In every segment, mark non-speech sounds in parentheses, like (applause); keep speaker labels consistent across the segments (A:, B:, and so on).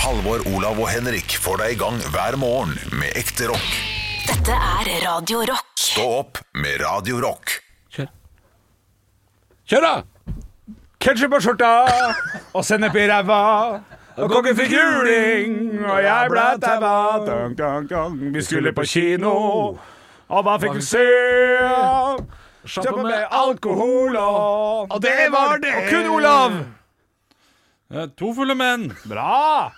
A: Halvor, Olav og Henrik får deg i gang hver morgen med ekte rock.
B: Dette er Radio Rock.
A: Stå opp med Radio Rock.
C: Kjør. Kjør, da!
D: Ketsjup på skjorta og sennep i ræva. Og kongen fikk juling, og jeg ble taua. Dang, dang, dang. Vi skulle på kino, og hva fikk vi se? Kjøpe med alkohol og Og det var det! Og kun Olav!
C: Ja, To fulle menn.
D: Bra!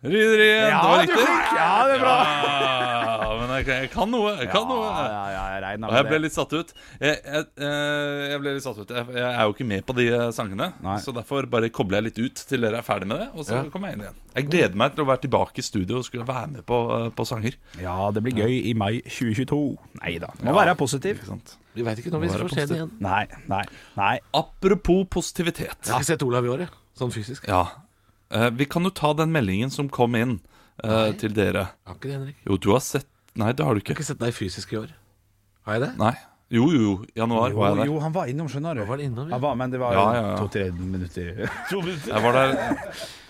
C: Ridderiet.
D: Ja,
C: det var
D: du
C: riktig.
D: fikk. Ja, det er bra.
C: Ja, men jeg, jeg kan noe. Jeg kan noe.
D: Ja, ja, ja, jeg regna
C: Og jeg
D: med
C: ble
D: det.
C: litt satt ut. Jeg, jeg, eh, jeg ble litt satt ut jeg, jeg er jo ikke med på de eh, sangene,
D: Nei.
C: så derfor bare kobler jeg litt ut til dere er ferdig med det. Og så kommer jeg inn igjen. Jeg gleder meg til å være tilbake i studio og skulle være med på, eh, på sanger.
D: Ja, det blir gøy i mai 2022. Nei da. Må være positiv.
C: Ikke sant?
E: Vi veit ikke når
C: Nå
E: vi
C: er det
E: får se den
C: positivt.
E: igjen.
D: Nei, nei, nei.
C: Apropos positivitet.
E: Jeg har ikke sett Olav i år, jeg. Sånn fysisk.
C: Ja. Eh, vi kan jo ta den meldingen som kom inn eh, til dere.
E: Jeg har ikke det, Henrik. Jeg
C: Jo, du har sett Nei, det har du ikke.
E: har ikke sett deg fysisk i år. Har jeg det?
C: Nei. Jo, jo, jo. Januar var jeg
D: Jo,
C: der.
D: jo, han var innom, skjønner du.
E: Var det innom, ja?
D: Han var, men det var
C: Ja, ja, ja.
D: to-tre minutter.
C: Jeg var der,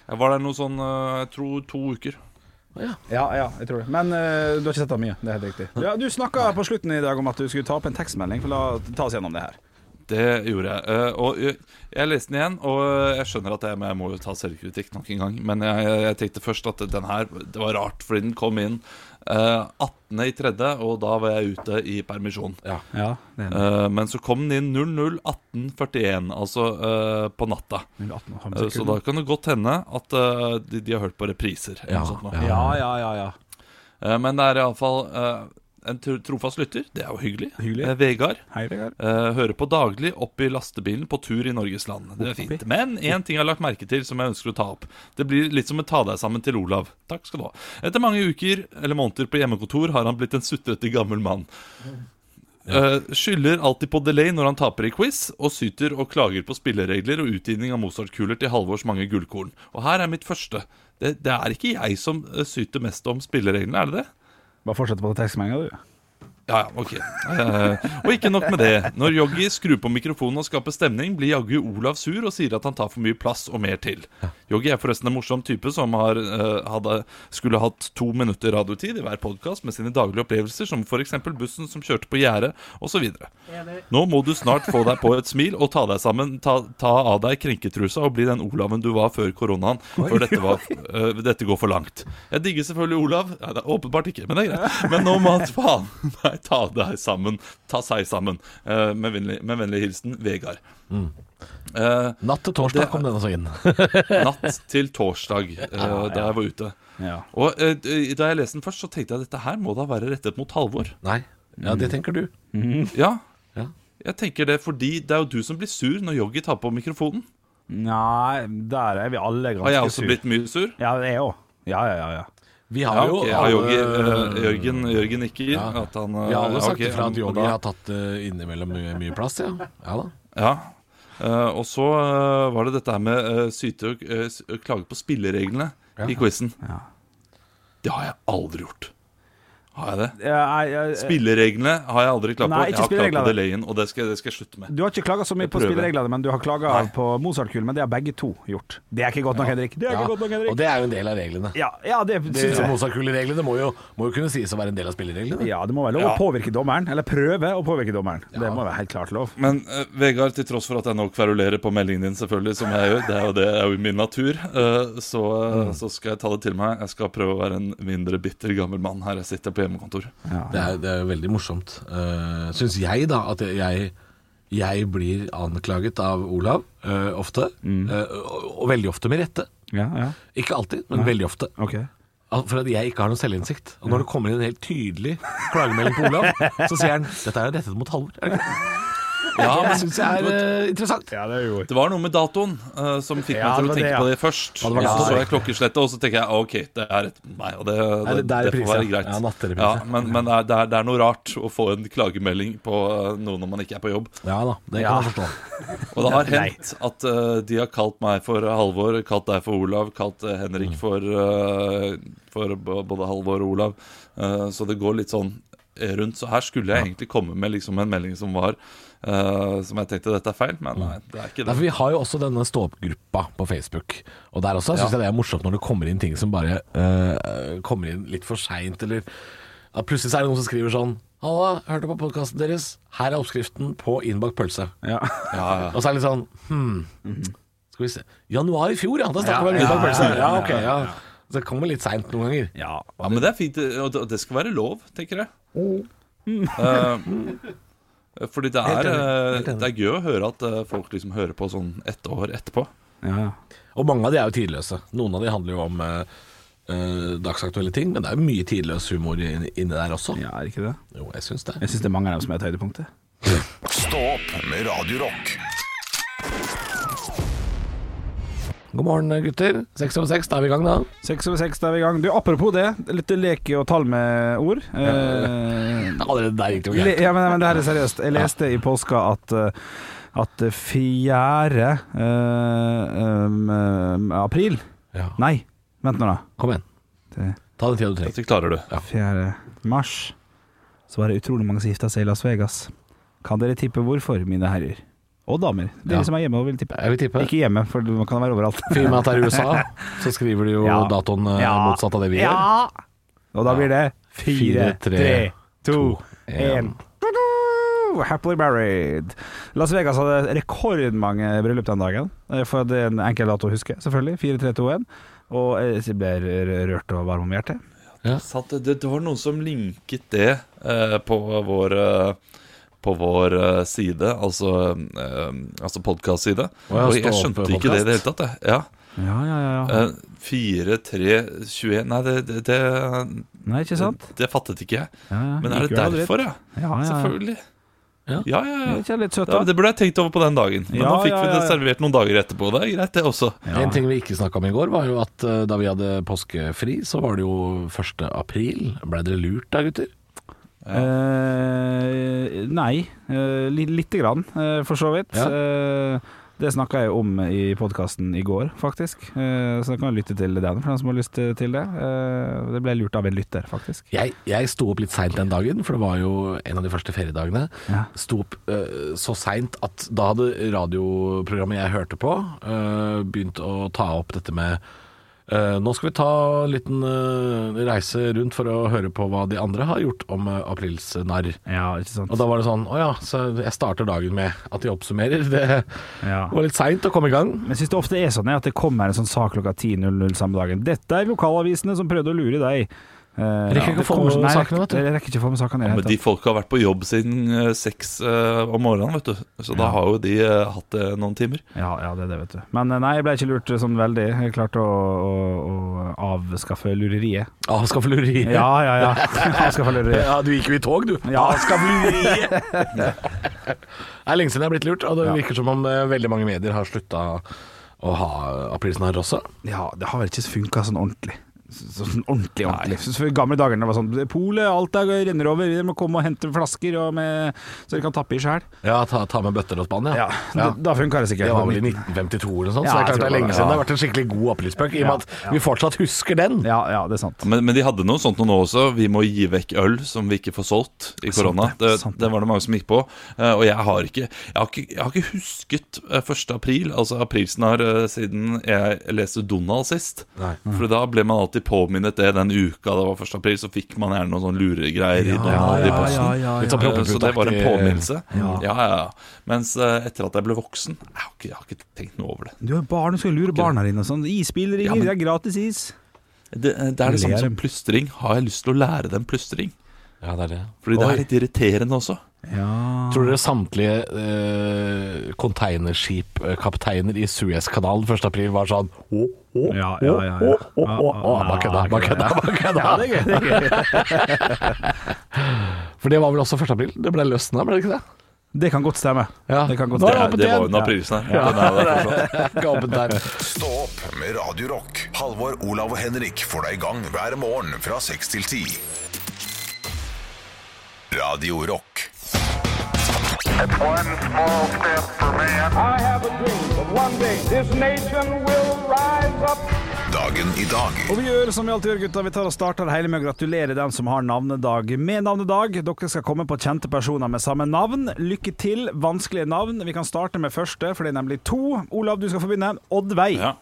C: jeg var der noe sånn eh, Jeg tror to uker.
D: Ja, ja, jeg tror det. Men eh, du har ikke sett ham mye. Det er helt riktig. Ja, du snakka på slutten i dag om at du skulle ta opp en tekstmelding. For la ta oss gjennom det her.
C: Det gjorde jeg. Eh, og jeg, jeg leste den igjen, og jeg skjønner at jeg, men jeg må jo ta selvkritikk nok en gang. Men jeg, jeg, jeg tenkte først at den her Det var rart, fordi den kom inn eh, 18. i tredje, og da var jeg ute i permisjon.
D: Ja,
C: Eh, men så kom den inn 00.18.41, altså eh, på natta. Eh, Så da kan det godt hende at eh, de, de har hørt på repriser. eller
E: Ja,
C: noe sånt nå.
D: Ja, ja, ja. ja.
C: Eh, men det er iallfall uh, en tro- trofast lytter. Det er jo hyggelig.
D: Hyggelig.
C: Eh, Vegard.
D: Hei, Vegard.
C: eh, hører på daglig opp i lastebilen på tur i Norges land. Det er fint. Men én ting jeg har lagt merke til som jeg ønsker å ta opp. Det blir litt som å ta deg sammen til Olav. Takk skal du ha. Etter mange uker eller måneder på hjemmekontor har han blitt en sutrete gammel mann. Eh, skylder alltid på delay når han taper i quiz, og syter og klager på spilleregler og utgivning av Mozart-kuler til Halvors mange gullkorn. Og her er mitt første. Det, det er ikke jeg som eh, syter mest om spillereglene, er det det?
D: Bare fortsett på den tekstmeldinga, du.
C: Ja, ja, ok. Eh, og ikke nok med det. Når Joggi skrur på mikrofonen og skaper stemning, blir jaggu Olav sur og sier at han tar for mye plass og mer til. Joggi er forresten en morsom type som har, eh, hadde, skulle hatt to minutter radiotid i hver podkast med sine daglige opplevelser, som f.eks. bussen som kjørte på gjerdet, osv. Nå må du snart få deg på et smil og ta deg sammen, ta, ta av deg krenketrusa og bli den Olaven du var før koronaen, før dette, var, eh, dette går for langt. Jeg digger selvfølgelig Olav. Ja, det er åpenbart ikke, men det er greit. Men nå må han faen meg ta deg sammen. Ta seg sammen. Eh, med, vennlig, med vennlig hilsen Vegard. Eh,
E: Natt til
C: Det
E: torsdag
C: er-
E: kom denne sangen.
C: natt til torsdag, eh, da jeg var ute.
D: Ja.
C: Og eh, da jeg leste den først, så tenkte jeg at dette her må da være rettet mot Halvor.
E: (laughs) Nei. Ja, det tenker du.
C: Ja,
E: Ja.
C: jeg tenker det fordi det er jo du som blir sur når Joggi tar på mikrofonen.
D: Nei, der er vi alle
C: Har jeg
D: ganske
C: også blitt mye sur?
D: Ja, jeg òg. Ja, ja, ja, ja.
E: Vi har
C: Ja,
E: jo
C: ok. ja,
E: alle-
C: Joggi, eh, Jørgen, Jørgen nikker.
E: Ja.
C: At han,
E: Vi har alle
C: eh,
E: sagt
C: ok,
E: ifra at
C: og
E: Joggi
C: da-
E: har tatt eh, innimellom mye, mye plass, ja. ja da.
C: Ja. Eh, og så eh, var det dette her med uh, syte og eh, s- og klage på spillereglene i quizen.
D: Ja.
C: Det har jeg aldri gjort. Har jeg det?
D: Jeg- jeg- jeg-
C: Spillereglene har jeg aldri klaget på.
D: Nei,
C: jeg
D: ikke
C: har klaget
D: spillereglene.
C: på delayen, og det skal, det skal jeg slutte med.
D: Du har ikke klaga så mye
C: Jeg
D: på
C: prøver.
D: spillereglene, men du har klaga på Mozart-kulen. Men det har begge to gjort. Det er ikke godt nok, Henrik. Det er
E: Ja,
D: ikke godt nok, Henrik.
E: og det er jo en del av reglene.
D: Ja, ja, det syns jeg.
E: Mozart-kulereglene må, jo- må jo kunne sies å være en del av spillereglene.
D: Ja, det må være lov å
C: Ja.
D: påvirke dommeren, eller prøve å påvirke dommeren. Det må være helt klart lov.
C: Men eh, Vegard, til tross for at jeg nå kverulerer på meldingen din, selvfølgelig, som jeg gjør, det er jo det er jo min natur, eh, så, eh, så skal jeg ta det til meg. Jeg skal prøve å være en mindre bitter gammel mann her jeg sitter på hjemmekontor.
E: Det er, det er jo veldig morsomt. Uh, Syns jeg, da, at jeg, jeg blir anklaget av Olav eh, ofte. eh, og, og veldig ofte med rette.
D: Ja, ja.
E: Ikke alltid, men veldig ofte.
D: Ok.
E: Al- For at jeg ikke har noen selvinnsikt. Og når det kommer inn en helt tydelig klagemelding på Olav, så sier han 'dette er jo rettet mot Halvor'. Er det ikke?
C: Ja,
E: Det
C: men
E: syns jeg er eh, interessant.
D: Ja, det er jo
C: Det var noe med datoen eh, som fikk
D: Ja,
C: meg
D: det
C: til å
D: var
C: tenke
D: det, ja.
C: på det først.
E: det var
C: og så
E: datoen.
C: så jeg klokkeslettet, og så tenker jeg ok, det er rett mot meg. Og det, det,
E: det- det er
C: det får
E: reprise,
C: være
E: ja.
C: greit.
E: Ja, nattereprise.
C: Ja, men men det, er, det, er, det er noe rart å få en klagemelding på eh, noe når man ikke er på jobb.
E: Ja da, det
D: Ja.
E: kan jeg forstå.
C: Og det har hendt at eh, de har kalt meg for eh, Halvor, kalt deg for Olav, kalt eh,
E: Mm.
C: Henrik for, eh, for b- både Halvor og Olav. Eh, så det går litt sånn rundt. Så her skulle jeg egentlig komme med liksom en melding som var eh, Som jeg tenkte dette er feil, men nei, det er ikke det.
E: Mm. Nei, for Vi har jo også denne stå-opp-gruppa på Facebook. Og der også syns jeg det er morsomt når det kommer inn ting som bare øh, kommer inn litt for seint, eller ja, Plutselig så er det noen som skriver sånn Halla, hørte på podkasten deres. Her er oppskriften på innbakt pølse.
D: Ja.
C: Ja, ja.
E: Og så er det litt sånn hmm, Skal vi se Januar i fjor, ja. Da snakker vi om innbakt pølse. Ja, ok, ja. Så det kommer litt seint noen ganger.
D: (laughs) ja.
C: Ja, men det er fint, eh, og det- og det skal være lov, tenker jeg. Eh, fordi det er,
E: Mm. Helt enig,
C: eh,
E: helt enig.
C: det er gøy å høre at eh, folk liksom hører på sånn ett år etterpå.
D: ja.
E: Og mange av de er jo tidløse. Noen av de handler jo om eh, eh, dagsaktuelle ting, men det er jo mye tidløs humor i- inni der også.
D: ja, er det ikke det?
E: Jo, jeg syns det.
D: Jeg syns det er mange av dem som er et høydepunkt. jeg.
A: Stå opp med Radio Rock.
E: God morgen, gutter. Seks over seks, da er vi i gang, da.
D: Seks over seks, da er vi i gang. Du, Apropos det, litt lek og tall med ord. Eh,
E: Allerede der gikk det jo
D: le,
E: greit.
D: ja, men, men det her er seriøst. Jeg leste i påska at eh, at fjerde eh, um, eh, april
E: Ja.
D: Nei, vent nå, da.
E: Kom igjen.
D: Det-
E: Ta den tida du trenger.
C: Dette klarer du.
D: 4. mars så var det utrolig mange som gifta seg i Las Vegas. Kan dere tippe hvorfor, mine herrer? Og damer. Dere
E: Ja.
D: som er hjemme og vil tippe.
E: Jeg vil tippe
D: Ikke hjemme, for man kan være overalt.
E: Filmen at det er
D: (laughs)
E: i USA, så skriver de jo
D: Ja.
E: datoen eh,
D: Ja.
E: motsatt av det vi gjør.
D: Ja! Og da blir det fire,
E: Fire, tre,
D: tre, to,
E: to, en.
D: én. Happily married. Las Vegas hadde rekordmange bryllup den dagen. eh, For det er en enkel dato å huske, selvfølgelig. 4, 3, 2, 1. Og eh, jeg ble r- rørt og varm om hjertet.
C: Satt, det, det var noen som linket det eh, på vår eh, på vår eh, side, altså, eh, altså podkastside.
E: Å, ja,
C: Og jeg
E: stå opp
C: skjønte ikke det i det hele tatt. jeg. Ja.
D: Ja, ja, ja. ja.
C: Eh, 4, 3, 21 Nei, det, det, det,
D: Nei, ikke sant?
C: det fattet ikke jeg.
D: Ja, ja.
C: Eh, Men er det
D: Likevel hadde rett.
C: derfor, ja?
D: Ja, ja, ja.
C: Selvfølgelig.
E: Ja.
C: Ja, ja, ja.
D: Det er litt søtt,
C: Ja,
D: da.
C: det burde jeg tenkt over på den dagen. Men
D: Ja,
C: nå fikk
D: ja,
C: vi det
D: ja, ja.
C: servert noen dager etterpå. Det er greit, det også.
E: En ting vi ikke snakka om i går, var jo at eh, da vi hadde påskefri, så var det jo 1. april. Blei dere lurt da, gutter?
D: Eh, nei, eh, li, lite grann, eh, for så vidt.
E: Ja.
D: Eh, det snakka jeg om i podkasten i går, faktisk. Eh, så da kan du lytte til den, for den som har lyst til det. Eh, det ble lurt av en lytter, faktisk.
E: Jeg, jeg sto opp litt seint den dagen, for det var jo en av de første feriedagene.
D: Ja.
E: Sto opp eh, så seint at da hadde radioprogrammet jeg hørte på, eh, begynt å ta opp dette med eh, Nå skal vi ta en liten eh, reise rundt for å høre på hva de andre har gjort om eh, aprils narr.
D: Ja, ikke sant.
E: Og da var det sånn Å ja, så jeg starter dagen med at de oppsummerer. (laughs) Det
D: Ja.
E: var litt seint å komme i gang.
D: Men jeg syns det ofte er sånn ja, at det kommer en sånn sak klokka 10.00 samme dagen. Dette er lokalavisene som prøvde å lure deg. Eh,
E: Rekker ikke
D: det
E: å få
D: kommer
E: med
D: sånn- nei,
E: sakene,
D: rekker-
E: vet du.
D: Jeg rekker ikke å få med sakene. i det
C: Men
D: hele
C: de
D: tatt.
C: folka har vært på jobb siden eh, seks eh, om morgenen, vet du. Så da har jo de eh, hatt det noen timer.
D: Ja, ja, det er det, vet du. Men eh, nei, jeg ble ikke lurt sånn veldig. Jeg klarte å, å, å avskaffe lureriet.
E: Avskaffeluriet.
D: Ja, ja, ja. Avskaffe lureriet.
E: (laughs) Ja, du gikk jo i tog, du.
D: Ja.
E: Avskaffeluriet. det er lenge siden jeg har blitt lurt, og det
D: Ja.
E: virker som om eh, veldig mange medier har slutta å ha aprilsnarr også.
D: Ja, det har vel ikke funka sånn ordentlig. Så- Sånn ordentlig, ordentlig. Så for I gamle dager da det var sånn Polet, alt er renner over, dere må komme og hente flasker og med, så dere kan tappe i sjøl.
E: Ja, ta, ta med bøtter og spann, ja.
D: Da, da funka det sikkert.
E: Det var vel i 1952 eller noe sånt,
D: Ja, jeg
E: så det er klart det
D: tror
E: er
D: det var-
E: lenge siden det
D: ja.
E: har vært en skikkelig god aprilspøk, i og med at vi fortsatt husker den.
D: Ja, ja, det er sant.
C: Men, men de hadde noe sånt nå også. Vi må gi vekk øl som vi ikke får solgt i korona. Det,
D: sant det.
C: det var det mange som gikk på. eh, Og jeg har ikke Jeg har ikke, jeg har ikke husket eh, 1. april, altså aprilsnarr, eh, siden jeg leste Donald sist.
E: Nei.
D: Mm.
C: For da ble man alltid påminnet det den uka det var 1. april. Så fikk man gjerne noen sånne luregreier i Donald i posten.
E: Litt sånn
C: Eh, Så det var en
E: proppeputaktig-
C: påminnelse.
D: Ja.
C: Ja, ja, ja. Mens eh, etter at jeg ble voksen Jeg har ikke, jeg har ikke tenkt noe over det.
D: Du har barn, du skal lure barna dine og sånn. Isbiler ringer,
C: Ja, men-
D: det er gratis is.
C: Det, eh, det er det samme
D: Ler.
C: som plystring. Har jeg lyst til å lære dem plystring?
E: Ja, det er det.
C: Fordi det
E: Oi.
C: er litt irriterende også.
D: Ja.
E: Tror dere samtlige eh, containerskipkapteiner i Suezkanalen 1. april var sånn Å, å, å,
D: Ja,
E: å,
D: ja, ja, ja.
E: å, å, å, å, Bare kødda, bare kødda, bare kødda.
D: det er gøy.
E: For det var vel også 1. april? Det ble løsna, ble det ikke det?
D: Det kan godt stemme.
E: Ja.
D: Det kan godt
E: Nå
C: Det,
E: er
C: er,
E: åpent
C: det var
E: igjen.
C: jo en aprilsnarr. Den er der fortsatt.
E: Ikke åpent der.
A: Stå opp med Radio Rock. Halvor, Olav og Henrik får deg i gang hver morgen fra 6 til 10. Radio Rock.
F: One small step for man.
G: I have a dream that one day this nation will rise up.
A: Dagen dagen i dag.
D: Og vi gjør som vi alltid gjør, gutta. Vi tar og starter det hele med å gratulere den som har navnedag med navnedag. Dere skal komme på kjente personer med samme navn. Lykke til. Vanskelige navn. Vi kan starte med første, for det er nemlig to. Olav, du skal få begynne. Oddveig.
C: Ja.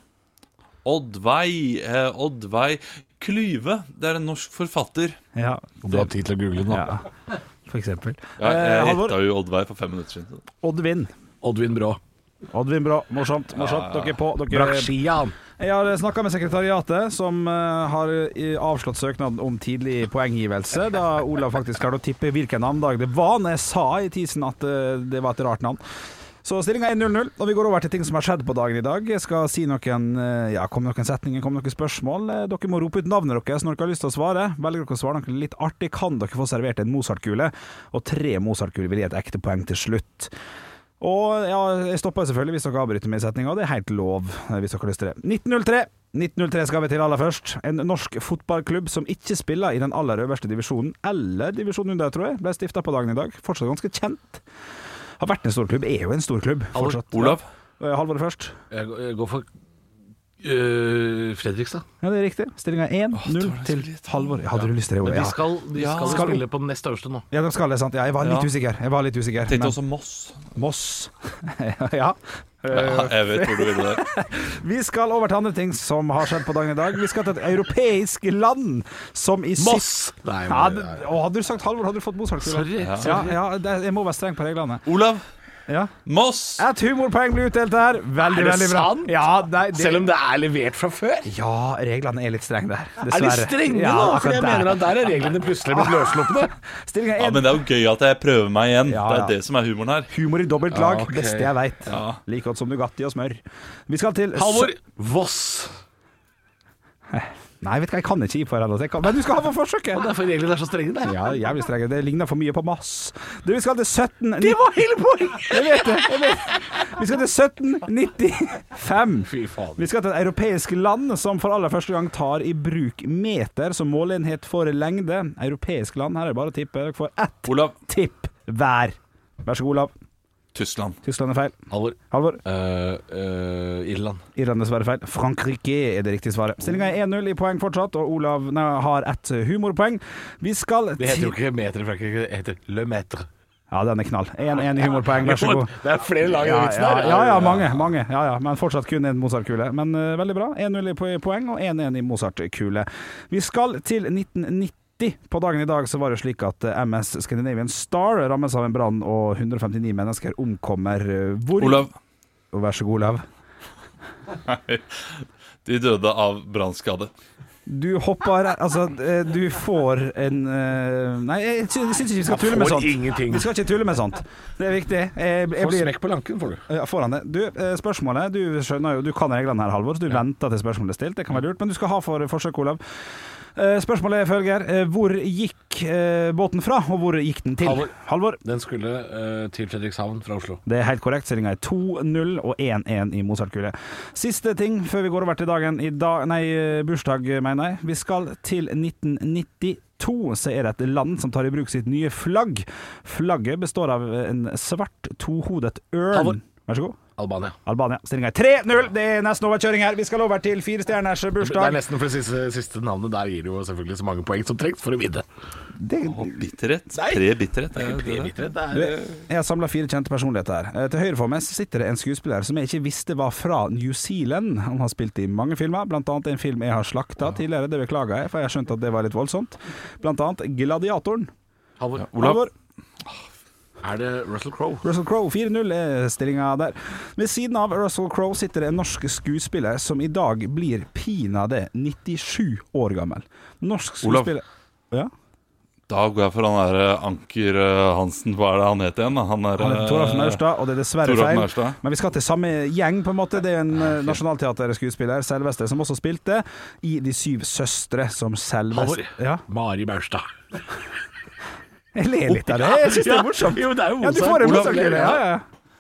C: Oddveig eh, Oddveig Klyve. Det er en norsk forfatter.
D: Ja.
E: Du har tid til å google den, da.
D: ja. (laughs) For eksempel.
C: Ja,
D: Eh,
C: jeg
D: Halvor.
C: hetta jo Oddveig for fem minutter siden.
D: Oddvin.
E: Oddvin Brå.
D: Oddvin, bra. Morsomt. morsomt. Dere er på. Dere
E: Brakk skia, han.
D: Jeg har snakka med sekretariatet, som eh, har eh, avslått søknaden om tidlig poenggivelse, da Olav faktisk klarte å tippe hvilken navnedag det var når jeg sa i tisen at eh, det var et rart navn. Så stillinga er 1-0-0, og vi går over til ting som har skjedd på dagen i dag. Jeg skal si noen eh, Ja, kom noen setninger, kom noen spørsmål. Eh, Dere må rope ut navnet deres når dere har lyst til å svare. Velger dere å svare noe litt artig, kan dere få servert en Mozart-kule, og tre Mozart-kuler vil gi et ekte poeng til slutt. Og ja, jeg stopper selvfølgelig hvis dere avbryter meg i setninga. Det er helt lov eh, hvis dere har lyst til det. 1903. 1903 skal vi til aller først. En norsk fotballklubb som ikke spiller i den aller øverste divisjonen, eller divisjonen under, tror jeg, ble stifta på dagen i dag. Fortsatt ganske kjent. Har vært en stor klubb, er jo en stor klubb. Fortsatt.
C: Olav.
D: Ja. Eh, Halvor først.
E: Jeg går- jeg går for øh, Fredrikstad.
D: Ja, det er riktig. Stillinga er 1-0 til Halvor. Ja, Hadde du lyst til det,
E: Men
D: Olav? Ja.
E: de skal, de
C: Ja.
E: skal,
D: Skal-
E: spille på den nest øverste nå.
D: ja, de skal det, sant? Ja, jeg var litt
C: Ja.
D: usikker. Jeg var litt usikker.
C: Tenkte
D: Men
C: også Moss.
D: Moss (laughs) Ja.
C: Ja, jeg vet hvor du ville der.
D: Vi skal over til andre ting som har skjedd på dagen i dag. Vi skal til et europeisk land som i sitt-
E: Nei, men,
D: Ja, det- å, hadde du sagt Halvor, hadde du fått Mozart.
E: Sorry.
D: Ja, ja, det, jeg må være streng på reglene.
C: Olav.
D: Ja.
C: Moss!
D: Et humorpoeng blir utdelt her. Veldig,
E: Er det
D: veldig bra.
E: sant?
D: Ja, nei, det,
E: Selv om det er levert fra før?
D: ja, reglene er litt strenge der.
E: Er de
D: Dessverre.
E: strenge
D: ja,
E: nå? For jeg mener at der er reglene
D: (laughs)
E: plutselig blitt løsluppende.
D: Stillinga
C: Ja,
D: er
C: men det er jo gøy at jeg prøver meg igjen.
D: Ja,
C: Det
D: ja.
C: er det som er humoren her.
D: humor i dobbelt lag.
E: Ja, ok.
D: Beste jeg veit. Like godt som Nugatti og smør. Vi skal til
E: Ah, Halvor Voss.
D: Nei, vet du hva, jeg kan ikke gi på her ennå. så jeg kan- Men du skal ha for forsøket.
E: Og derfor reglene er så strenge der.
D: Ja, jævlig strenge. Det ligner for mye på mass. Du, vi skal til 17...
E: Det var hele poenget!
D: Jeg vet det! Jeg vet. Vi skal til 1795.
E: Fy faen.
D: Vi skal til et europeisk land som for aller første gang tar i bruk meter som måleenhet for lengde. Europeisk land, her er det bare å tippe. Dere får ett
C: Olav.
D: tipp hver. Vær så god, Olav.
C: Tyskland.
D: Tyskland er feil.
E: Halvor.
D: Halvor.
E: øh, øh, Irland.
D: Irland er dessverre feil. Frankrike er det riktige svaret. Stillinga er 1-0 i poeng fortsatt, og Olav nei, har ett humorpoeng. Vi skal
E: Det heter
D: til
E: jo ikke meter i Frankrike, det heter le metre.
D: Ja, den er knall. 1-1 i humorpoeng, vær så god.
E: Det er flere lag i den
D: Ja,
E: vitsen
D: ja,
E: her.
D: ja, ja, mange. mange ja, ja. Men fortsatt kun en Mozart-kule. Men eh, veldig bra. 1-0 i po- poeng og 1-1 i Mozart-kule. Vi skal til 1990. På dagen i dag så var det slik at eh, MS Scandinavian Star rammes av en brann, og 159 mennesker omkommer. eh, Hvor
C: Olav.
D: Vær så god, Olav.
C: De døde av brannskade.
D: Du hopper Altså, eh, du får en eh, Nei, jeg sy- syns ikke vi skal tulle med
E: Får
D: sånt.
E: ingenting.
D: Vi skal ikke tulle med sånt. Det er viktig. Jeg, jeg
E: Får
D: blir
E: smekk på lanken, får du.
D: Ja, foran det. Du, eh, spørsmålet Du skjønner jo, du kan reglene her, Halvor, så du venter til spørsmålet er stilt. Det kan være lurt, men du skal ha for forsøk, Olav. Eh, Spørsmålet er følger. eh, Hvor gikk eh, båten fra, og hvor gikk den til?
E: Halvor.
D: Halvor.
E: Den skulle øh, til Fredrikshavn fra Oslo.
D: Det er helt korrekt. Stillinga er 2-0 og 1-1 i Mozart-kule. Siste ting før vi går over til dagen i dag Nei, eh, bursdag, eh, mener jeg. Vi skal til 1992. Så er det et land som tar i bruk sitt nye flagg. Flagget består av en svart tohodet ørn.
E: Halvor.
D: Vær så god.
E: Albania.
D: Albania. Stillinga er 3-0. Det er nesten overkjøring her. Vi skal over til fire stjerners
E: Det er
D: bursdag.
E: nesten for det siste, siste navnet. Der gir det jo selvfølgelig så mange poeng som trengs for å vinne.
C: Og bitterhet. Tre bitterhet. er det det?
E: Det er-
D: Jeg har samla fire kjente personligheter her. Eh, Til høyre for meg så sitter det en skuespiller som jeg ikke visste var fra New Zealand. Han har spilt i mange filmer, blant annet en film jeg har slakta tidligere. Det beklager jeg, for jeg har skjønt at det var litt voldsomt. Blant annet Gladiatoren.
E: Halvor.
D: Halvor.
E: Er det Russell Crowe?
D: Russell Crowe 4-0 er stillinga der. Ved siden av Russell Crowe sitter det en norsk skuespiller som i dag blir pinadø 97 år gammel. Norsk
C: Olav.
D: skuespiller Ja?
C: Da går jeg for han derre Anker eh, Hansen. Hva er det han het igjen? da? Han er
D: Han
C: eh,
D: heter Toralf Maurstad, og det er dessverre
C: Toralf
D: feil.
C: Maurstad. Ah,
D: Men vi skal til samme gjeng, på en måte. Det er en eh, nasjonalteaterskuespiller, Selveste, som også spilte i De syv søstre, som
E: Halvor.
D: Selveste Ja,
E: Mari Maurstad.
D: jeg ler litt av det. Jeg synes det er morsomt.
E: Jo, det er jo
D: Ja, du får en
E: Olav-
D: morsom kule. Ja, ja.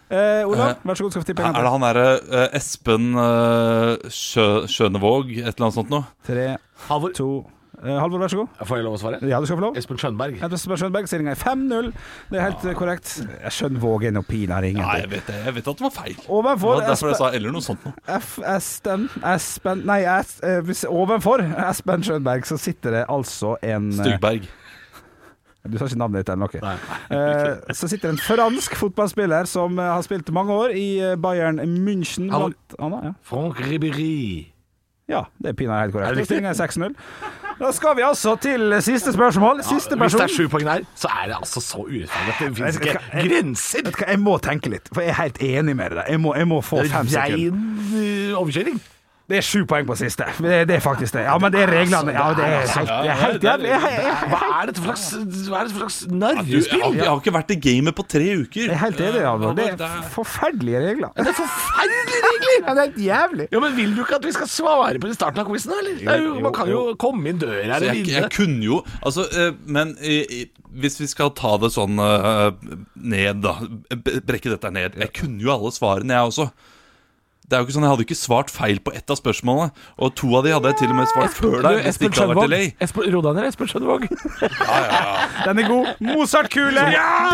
D: Eh, Olav, vær så god, skal få tippe en
C: Er det
D: gang til.
C: han derre eh, Espen eh, Sjø, Sjønevåg? Et eller annet sånt noe?
D: Tre,
E: Halvor.
D: to Eh, Halvor, vær så god.
E: Får jeg lov å svare?
D: Ja, du skal få lov.
E: Espen Skjønberg.
D: Jeg tror Espen Skjønberg stillinga er 5-0. Det er helt eh, korrekt. Jeg skjønner vågen og pina er
C: Nei,
D: ingenting.
C: jeg vet det. Jeg vet at det var feil.
D: Overfor
C: Det var derfor jeg
D: Espen-
C: sa eller noe sånt noe.
D: F. Espen Espen Nei, es, eh, hvis, ovenfor Espen Skjønberg så sitter det altså en eh,
C: Stygberg.
D: Du sa ikke navnet ditt eller noe. Eh, så sitter det en fransk fotballspiller som eh, har spilt mange år i eh, Bayern München
E: Hallo.
D: blant annet. Ja.
E: Frank Ribéry.
D: ja, det er pinadø helt korrekt.
E: Er
D: Da
E: det riktig?
D: stiller jeg 6-0. Da skal vi altså til siste spørsmål. Siste
E: Hvis det
D: person.
E: er sju poeng der, så er det altså så urettferdig at det finnes
D: Jeg-
E: ikke grenser.
D: Vet du hva, Jeg må tenke litt, for jeg er helt enig med deg. Jeg må, jeg må få
E: Det er
D: fem sekunder.
E: Rein eh, overkjøring.
D: Det er sju poeng på siste. Det, det er faktisk det. Ja, men det er reglene. Ja, det er helt, det er helt jævlig. Jeg, jeg, jeg,
E: Hva er dette for slags, hva er dette for slags
C: Du, jeg, har,
E: narrespill?
C: jeg har ikke vært i gamet på tre uker.
D: jeg er helt enig, Halvor. Det er forferdelige regler. Det er forferdelige regler! Ja, det er helt jævlig.
E: Ja, men Vil du ikke at vi skal svare på det i starten av quizen, eller? Det er jo, man kan jo komme inn døra
C: Så
E: eller
C: jeg, jeg
E: vinne.
C: kunne jo Altså, eh, men i- i- hvis vi skal ta det sånn eh, ned, da b- Brekke dette ned. Jeg kunne jo alle svarene, jeg også. Det er jo ikke sånn, Jeg hadde ikke svart feil på ett av spørsmålene. Og to av de hadde jeg til og med svart før deg. Hvis det ikke hadde vært i lei.
E: Espen Ro deg ned, Espen Skjønvåg.
D: Den er god. Mozart-kule.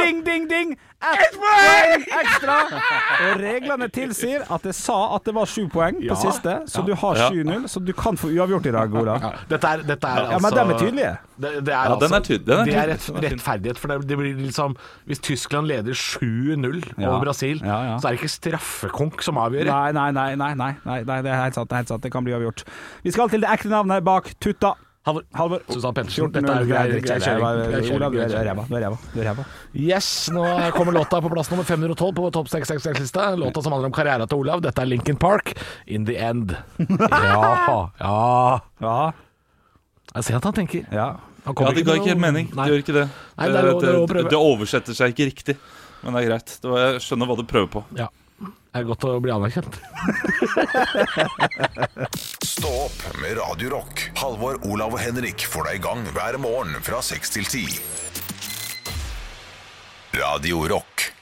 D: Ding, ding, ding. Ett poeng ekstra. Og reglene tilsier at jeg sa at det var sju poeng på siste, så du har 7-0. Så du kan få uavgjort i dag, Ola.
E: Dette er, dette er altså
D: Ja, men de er tydelige.
E: Det, det er
C: Ja, den
E: altså,
C: er tydelig, den er
E: det
C: tydelig,
E: er rett,
C: den er tydelig.
E: rettferdighet. For det, det blir liksom Hvis Tyskland leder 7-0
D: Ja.
E: over Brasil,
D: Ja, ja.
E: så er det ikke straffekonk som avgjør. det.
D: Nei, nei, nei, nei, nei, nei, nei, det er helt sant, det er helt sant. Det kan bli avgjort. Vi skal til det ekte navnet bak tutta.
E: Halvor.
D: Halvor.
E: Susann Pettersen.
D: 14
E: Dette er jo grei-
D: Jeg
E: grei
D: kjører
E: kjøring.
D: meg.
E: Grei kjøring,
D: Olav, du
E: grei
D: er
E: kjøring.
D: ræva. Du er ræva. Du er ræva.
E: Yes, nå kommer låta på plass nummer 512 på topp 666-lista. Låta som handler om karriera til Olav. Dette er Lincoln Park, 'In The End'. Ja, ja.
D: Ja,
E: Jeg ser at han tenker.
D: ja.
E: Han
C: Ja,
E: kommer
C: Det ga ikke
E: til
C: helt
E: noe-
C: mening.
E: Nei.
C: Det gjør ikke det. Eh,
E: Nei, det er lov- det er lov å prøve.
C: det oversetter seg ikke riktig. Men det er greit. Det var, jeg skjønner hva du prøver på.
E: Ja. Det er godt å bli anerkjent.
A: Stå opp med Radio Rock. Halvor, Olav og Henrik får deg i gang hver morgen fra 6 til 10. Radio Rock.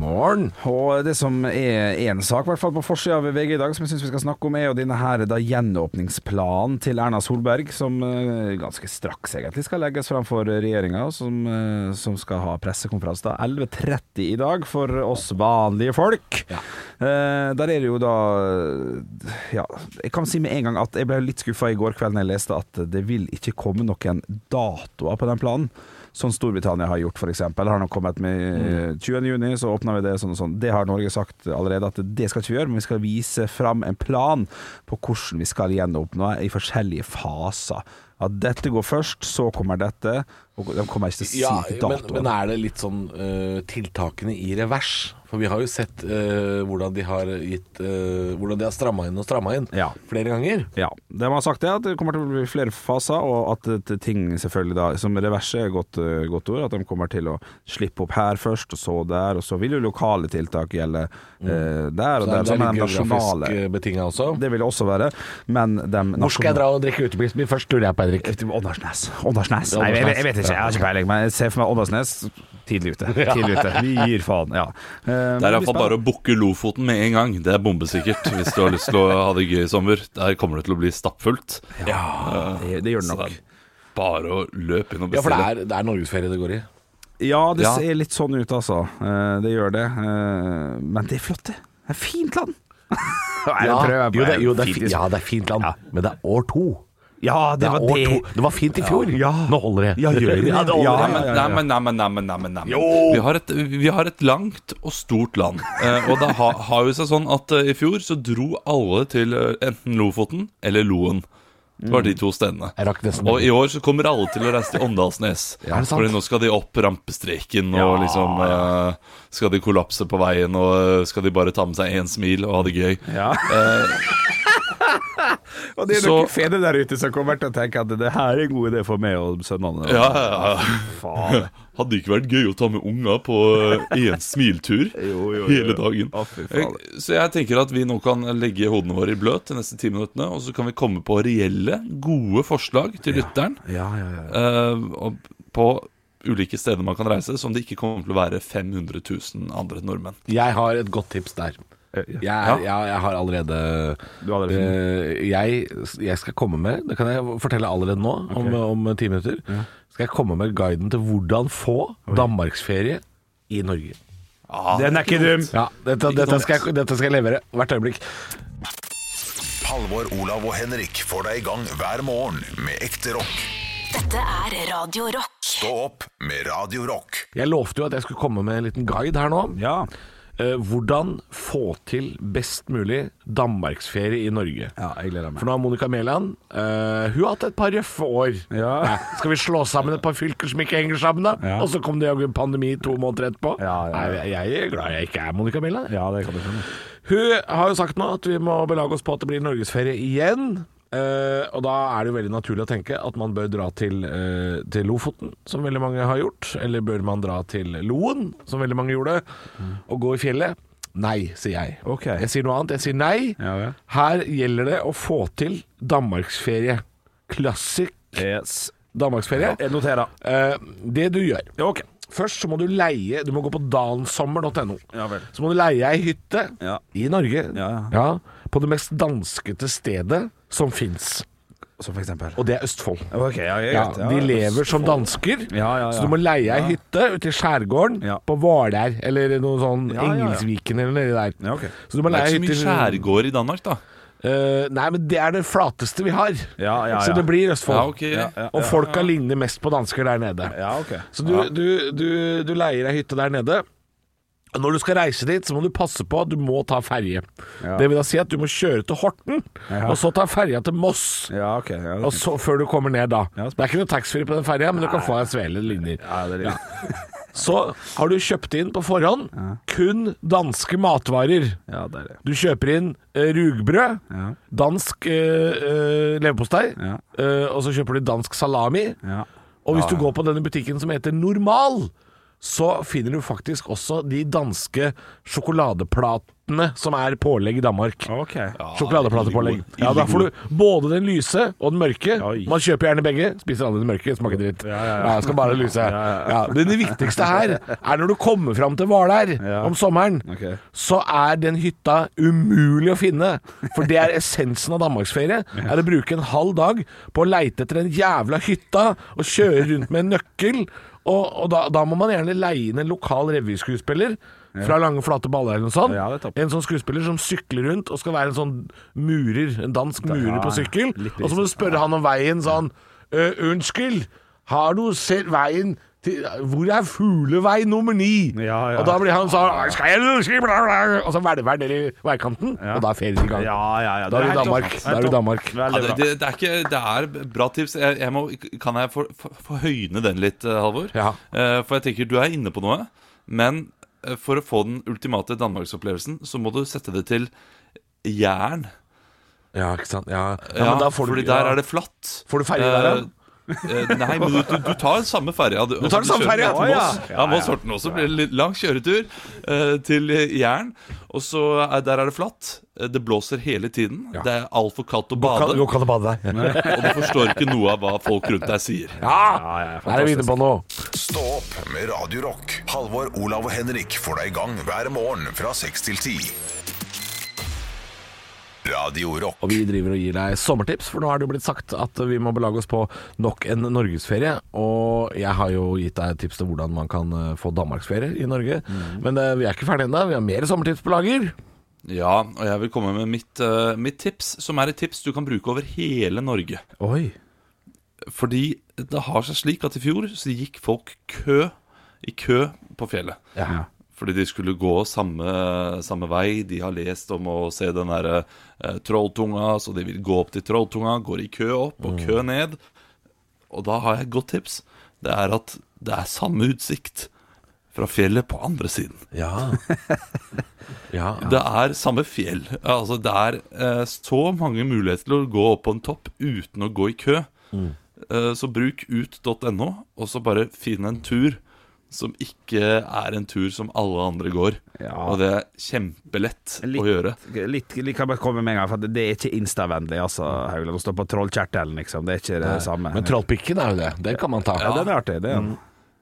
E: Morgen.
D: Og det som er én sak, i hvert fall på forsida av VG i dag, som jeg syns vi skal snakke om, er jo denne her da gjenåpningsplanen til Erna Solberg, som eh, ganske straks egentlig skal legges fram for regjeringa, og som, eh, som skal ha pressekonferanse da 11.30 i dag for oss vanlige folk. Eh, Der er det jo da Ja, jeg kan si med en gang at jeg ble litt skuffa i går kveld når jeg leste at det vil ikke komme noen datoer på den planen. Sånn Storbritannia har gjort, f.eks. Har nå kommet
E: Mm.
D: med 20.6, så åpner vi det sånn og sånn. Det har Norge sagt allerede at det skal ikke vi gjøre, men vi skal vise fram en plan på hvordan vi skal gjenåpne i forskjellige faser. At dette går først, så kommer dette. Og de kommer ikke til å si
E: Ja, men,
D: datoer.
E: (laughs) men er det litt sånn eh, tiltakene i revers? For vi har jo sett eh, hvordan de har gitt eh, Hvordan de har stramma inn og stramma inn
D: Ja.
E: flere ganger.
D: Ja. De har sagt det, at det kommer til å bli flere faser, og at det- ting selvfølgelig da Som reverset er et godt, eh, godt ord. At de kommer til å slippe opp her først, og så der. Og så vil jo lokale tiltak gjelde eh, der og
E: Mm. Det
D: der.
E: er, det
D: Så
E: er
D: men
E: litt
D: de
E: geografisk
D: nasjonale
E: eh, betinga også.
D: Det vil det også være. Men de
E: Hvor skal jeg
D: nasjonale-
E: dra og drikke utepils min først, lurer jeg på, Henrik.
D: Åndalsnes. Åndalsnes.
E: Ja,
D: Nei, jeg,
E: Åndalsnes.
D: jeg vet ikke, jeg har ikke peiling. Men jeg ser for meg Åndalsnes tidlig
E: (laughs)
D: ute. Tidlig ute. Vi gir faen, ja. Eh,
C: Det er
D: men
C: iallfall bare å bukke Lofoten med en gang. Det er bombesikkert hvis du har lyst til å ha det gøy i sommer. Der kommer det til å bli stappfullt.
D: det, det gjør det
C: Så det
D: nok.
C: er Sånn. bare å løpe inn og
E: Ja, for det
C: bestille.
E: er, det er norgesferie det går i.
D: Ja, det
C: Ja.
D: ser litt sånn ut, altså. Eh, Det gjør det. Eh, Men det er flott, det. Det er fint
E: (laughs)
D: land. Nei,
E: Ja,
D: det prøver jeg på.
E: jo, det, jo, det er,
D: Fint,
E: fi-
D: liksom.
E: ja, det er fint land, men det er år to.
D: Ja, det
E: Det,
D: var
E: er år
D: det.
E: to. det var fint i fjor.
D: Ja.
E: Nå holder det.
D: Ja, gjør det.
E: (laughs) Ja, det
D: Ja,
E: holder
D: ja,
E: det.
D: ja.
C: Neimen, neimen, neimen, neimen, neimen. Vi, har et- vi har et langt og stort
E: (laughs)
C: land. Eh, og det ha, har jo seg sånn at eh, i fjor så dro alle til eh, enten Lofoten eller Loen. Det var de to stedene.
E: Jeg rakk nesten
C: Og i år så kommer alle til å reise til Åndalsnes.
E: er det sant?
C: Fordi nå skal de opp rampestreken, og liksom eh, skal de kollapse på veien, og eh, skal de bare ta med seg én smil og ha det gøy.
D: Og det er
C: Så-
D: noen fedre der ute som kommer til å tenke at det her er en god idé for meg og sønnene.
C: Ja, ja, ja. (laughs) Hadde det ikke vært gøy å ta med unga på eh, en smiltur
D: (laughs) jo, jo.
C: hele dagen?
D: Å, fy faen.
C: Eh, Så jeg tenker at vi nå kan legge hodene våre i bløt de neste ti minuttene, og så kan vi komme på reelle, gode forslag til lytteren
D: Ja, ja, ja.
C: eh, og på ulike steder man kan reise, som det ikke kommer til å være 500 000 andre nordmenn.
E: Jeg har et godt tips der.
D: Eh,
E: Jeg, er, (laughs) ja, jeg har allerede,
D: Du har allerede
E: Eh, jeg, jeg skal komme med Det kan jeg fortelle allerede nå, om, om ti minutter. Skal jeg komme med guiden til hvordan få danmarksferie i Norge.
D: Den er ikke dum.
E: Ja, dette,
C: Ikke
E: dette,
C: dumt.
E: skal jeg, dette skal jeg levere hvert øyeblikk.
A: Halvor, Olav og Henrik får deg i gang hver morgen med ekte rock.
B: Dette er Radio Rock.
A: Stå opp med Radio Rock.
E: Jeg lovte jo at jeg skulle komme med en liten guide her nå.
D: Ja.
E: Eh, hvordan få til best mulig danmarksferie i Norge.
D: ja, jeg gleder
E: For nå har Monica Mæland eh, Hun har hatt et par røffe år.
D: Ja.
E: Nei, skal vi slå sammen et par fylker som ikke henger sammen, da?
D: Ja.
E: Og så kom det jaggu en pandemi to måneder etterpå.
D: Ja, ja, ja.
E: Nei, jeg, jeg er glad jeg ikke er Monica Mæland. jeg.
D: Ja, det kan du skjønne.
E: Hun har jo sagt nå at vi må belage oss på at det blir norgesferie igjen. Eh, og da er det jo veldig naturlig å tenke at man bør dra til, eh, til Lofoten, som veldig mange har gjort. Eller bør man dra til Loen, som veldig mange gjorde, og gå i fjellet? Nei, sier jeg.
D: Ok.
E: Jeg sier noe annet. Jeg sier nei.
D: Ja, ja.
E: Her gjelder det å få til danmarksferie. Klassisk
D: Yes.
E: danmarksferie.
D: Jeg noterer.
E: Eh, det du gjør
D: Ok.
E: Først så må du leie Du må gå på dansommer.no.
D: Ja vel.
E: Så må du leie ei hytte
D: Ja.
E: i Norge.
D: Ja, ja.
E: På det mest danskete stedet som fins,
D: Som for eksempel.
E: og det er Østfold.
D: Ok, ja, jeg
E: Ja,
D: vet.
E: de lever som dansker,
D: Ja, ja, ja.
E: så du må leie ei hytte ute i skjærgården
D: Ja.
E: på Hvaler eller noe sånn
D: Ja, ja, ja.
E: Engelsviken eller nedi der.
D: Ja, ok.
E: Så du må
C: Det
E: leie
C: er ikke så mye
E: hytte-
C: skjærgård i Danmark, da.
E: Eh, nei, men det er det flateste vi har.
D: Ja, ja,
E: Så
D: ja.
E: det blir Østfold.
C: Ja, ok. Ja, ja,
E: Og folka ligner mest på dansker der nede.
D: Ja, ok.
E: Så du, du, du, du leier ei hytte der nede. Når du skal reise dit, så må du passe på at du må ta ferje. Det vil da si at du må kjøre til Horten, og så ta ferja til Moss.
D: Ja, ok. Ja,
E: Og så før du kommer ned, da.
D: Ja,
E: det er ikke noe taxfree på den ferja, men du kan få deg en svele linjer.
D: ja, det er litt.
E: Så har du kjøpt inn på forhånd kun danske matvarer.
D: Ja, det er det.
E: Du kjøper inn eh, rugbrød,
D: Ja.
E: dansk eh, eh, leverpostei,
D: Ja.
E: eh, og så kjøper du dansk salami.
D: Ja.
E: Og hvis du går på denne butikken som heter Normal, så finner du faktisk også de danske sjokoladeplatene som er pålegg i Danmark.
D: Ok.
E: Sjokoladeplatepålegg.
C: ille god-
E: Ja,
C: ille
E: da får du både den lyse og den mørke.
D: Oi.
E: Man kjøper gjerne begge, spiser alle den mørke, smaker dritt. Ja, jeg skal bare ha den lyse. Ja, men det viktigste her er når du kommer fram til Hvaler
D: Ja.
E: om sommeren,
D: Ok.
E: så er den hytta umulig å finne. For det er essensen av danmarksferie. Er å bruke en halv dag på å leite etter den jævla hytta og kjøre rundt med en nøkkel. Og, og da, da må man gjerne leie inn en lokal revyskuespiller fra Lange flate baller eller noe sånt.
D: Ja, det er topp.
E: en sånn skuespiller som sykler rundt og skal være en sånn murer, en dansk murer
D: ja,
E: på sykkel.
D: litt
E: Og så må du spørre han om veien sånn «Ø, Unnskyld, har du sett veien til Hvor er fuglevei nummer ni?
D: Ja, ja.
E: Og da blir han sånn skal jeg, skal jeg, bla, bla, Og så hvelver han ned i veikanten, og da er ferien i gang.
D: Ja, ja, ja.
E: Da er du i
D: helt topp.
E: Danmark.
D: Helt
E: Da er du i
D: topp.
E: Danmark.
C: Ja,
D: Veldig
C: det,
D: bra.
C: det, det, er ikke, det er bra tips. Jeg, jeg må, kan jeg få- få få høyne den litt, eh, Halvor?
E: Ja.
C: Eh, For jeg tenker du er inne på noe, men eh, for å få den ultimate danmarksopplevelsen, så må du sette det til jern.
E: Ja, ikke sant. Ja, ja,
C: Ja,
E: men da får du
C: fordi der er det flatt.
E: Får du ferje der, da?
C: Eh, eh, nei, men du, du, du tar samme ferja. Du,
E: tar den samme ferja?
C: Ja,
E: Å,
C: ja.
E: ja.
C: ja, Moss Horten også. Blir det litt lang kjøretur eh, til eh, Jæren. Og så er, der er det flatt. Eh, Det blåser hele tiden. Det er altfor kaldt å bade.
E: Kan, jo, kan du bade der?
C: Og du forstår ikke noe av hva folk rundt deg sier.
E: Ja!
D: Ja, ja,
E: Der er vi inne på noe.
A: Stå opp med Radio Rock. Halvor, Olav og Henrik får deg i gang hver morgen fra 6 til 10. Radio Rock.
E: Og vi driver og gir deg sommertips, for nå er det jo blitt sagt at vi må belage oss på nok en norgesferie. Og jeg har jo gitt deg et tips til hvordan man kan eh, få danmarksferie i Norge.
D: Mm.
E: Men eh, vi er ikke ferdige ennå. Vi har mer sommertips på lager.
C: Ja, og jeg vil komme med mitt, eh, mitt tips, som er et tips du kan bruke over hele Norge.
D: Oi.
C: Fordi det har seg slik at i fjor så gikk folk kø i kø på fjellet.
D: Ja.
C: Fordi de skulle gå samme, samme vei. De har lest om å se den derre eh, Trolltunga, så de vil gå opp til Trolltunga. Går i kø opp og kø ned. Og da har jeg et godt tips. Det er at det er samme utsikt fra fjellet på andre siden.
E: (laughs) Ja. ja.
C: Det er samme fjell. Altså, det er eh, så mange muligheter til å gå opp på en topp uten å gå i kø.
D: Mm.
C: Eh, så bruk ut.no, og så bare finn en tur som ikke er en tur som alle andre går.
D: Ja.
C: Og det er kjempelett
D: Litt-
C: å gjøre.
D: Litt, litt kan jeg bare komme med en gang, for det er ikke instavennlig, altså, Haugland. Å stå på trollkjertelen, liksom. Det er ikke det samme.
E: Men trollpikken er jo det. Den kan man ta.
D: Ja, den er artig. Det er.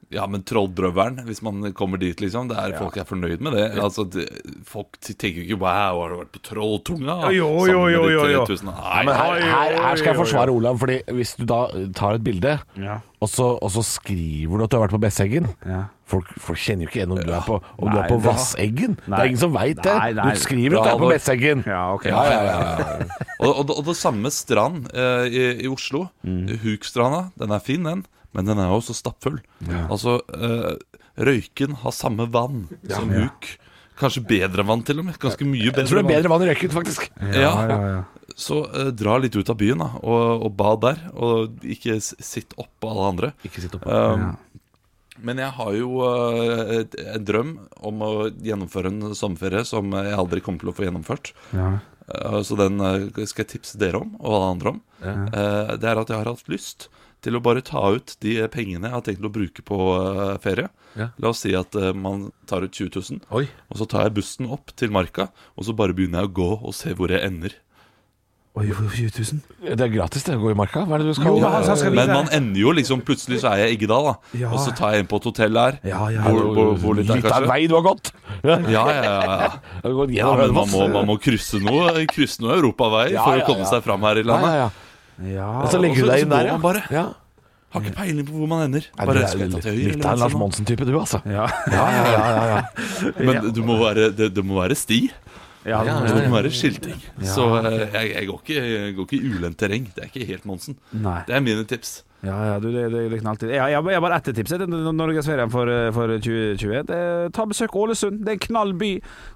C: Ja, men Trolldrøveren, hvis man kommer dit, liksom. Det er, Folk er fornøyd med det. Altså, det folk tenker jo ikke 'wow, har du vært på Trolltunga?'
D: Jo, jo,
C: sammen med
D: jo,
C: de
D: jo, jo.
C: 3000? Nei,
E: Men her,
D: Oi,
E: her,
D: oi,
E: her skal jeg
D: oi,
E: forsvare Olav, Fordi hvis du da tar et bilde,
C: Mm,
D: Ja.
E: og, så, og så skriver du at du har vært på Besseggen
D: Ja.
E: folk, folk kjenner jo ikke igjen om du er på, om du
D: Nei,
E: er på
D: det var-
E: Vasseggen. Det
D: Nei.
E: er ingen som veit det.
D: Nei, nei.
E: Du skriver at du
C: Bra,
E: er på
C: Halvor.
E: Besseggen.
D: Ja, ok.
E: Ja, ja, ja, ja.
C: (laughs) og, og, og det samme strand eh, i, i Oslo.
E: Mm.
C: Hukstranda. Den er fin, den, men den er jo også stappfull. Altså, eh, Røyken har samme vann som Huk. Kanskje bedre vann, til og med. Ganske mye bedre.
E: Jeg tror det er
C: vann.
E: bedre vann i røyken, faktisk.
C: Ja, Så eh, dra litt ut av byen da, og, og bad der, og ikke s- sitt oppå alle andre.
E: Ikke sitt oppå.
C: Um, Men jeg har jo eh, et- en drøm om å gjennomføre en sommerferie som jeg aldri kommer til å få gjennomført. Eh, Så den eh, skal jeg tipse dere om, og alle andre om. Eh, Det er at jeg har hatt lyst til å bare ta ut de eh, pengene jeg har tenkt å bruke på eh, ferie.
E: Ja.
C: La oss si at eh, man tar ut 20 000,
E: Oi.
C: og så tar jeg bussen opp til Marka, og så bare begynner jeg å gå og se hvor jeg ender.
D: Oi, for 20 000.
E: Det er gratis det å gå i marka. Hva er det du skal
D: Jo, men han sa- skal vi
C: Men altså,
D: der?
C: man ender jo liksom Plutselig så er jeg i Eggedal, da.
D: Ja.
C: Og så tar jeg inn på et hotell der.
D: Ja, ja.
C: Hvor, hvor, hvor litt er,
E: Litt av en
C: kanskje.
E: vei du har gått. Du
C: Ja, ja, ja, ja.
E: har gått
C: ja,
E: gjennom
C: men man
E: Hønefoss.
C: må, man må krysse noe Krysse noe europavei
E: Ja,
C: for
E: ja,
C: å komme
E: ja.
C: seg fram her i
E: Ja, ja,
C: landet.
E: ja.
D: Ja.
E: Så liksom
C: og
E: legger du
C: så-
E: deg inn
C: så går
E: der,
C: man bare.
E: ja.
C: Har ikke peiling på hvor man ender.
E: Nei,
C: Bare
E: du
C: skal jeg liksom.
E: er
C: ta
E: litt,
C: til høyre
E: litt av en
C: eller sånn?
E: Lars
C: venstre nå?
E: Monsen-type, du, altså.
D: Ja.
E: Ja, ja, ja, ja, ja.
C: Men du må være, det, det må være sti.
D: Ja,
E: Ja,
C: Det
E: ja,
C: må være skilting. Så eh, jeg, jeg går ikke, jeg går ikke i ulendt terreng. Det er ikke helt Monsen.
D: Nei.
C: Det er mine tips.
D: Ja, ja, du, det, det, det er knalltid. Jeg, jeg, jeg bare ettertipset Norgesferien for, for 2021. Eh, Ta besøk Ålesund. Det er en knall by.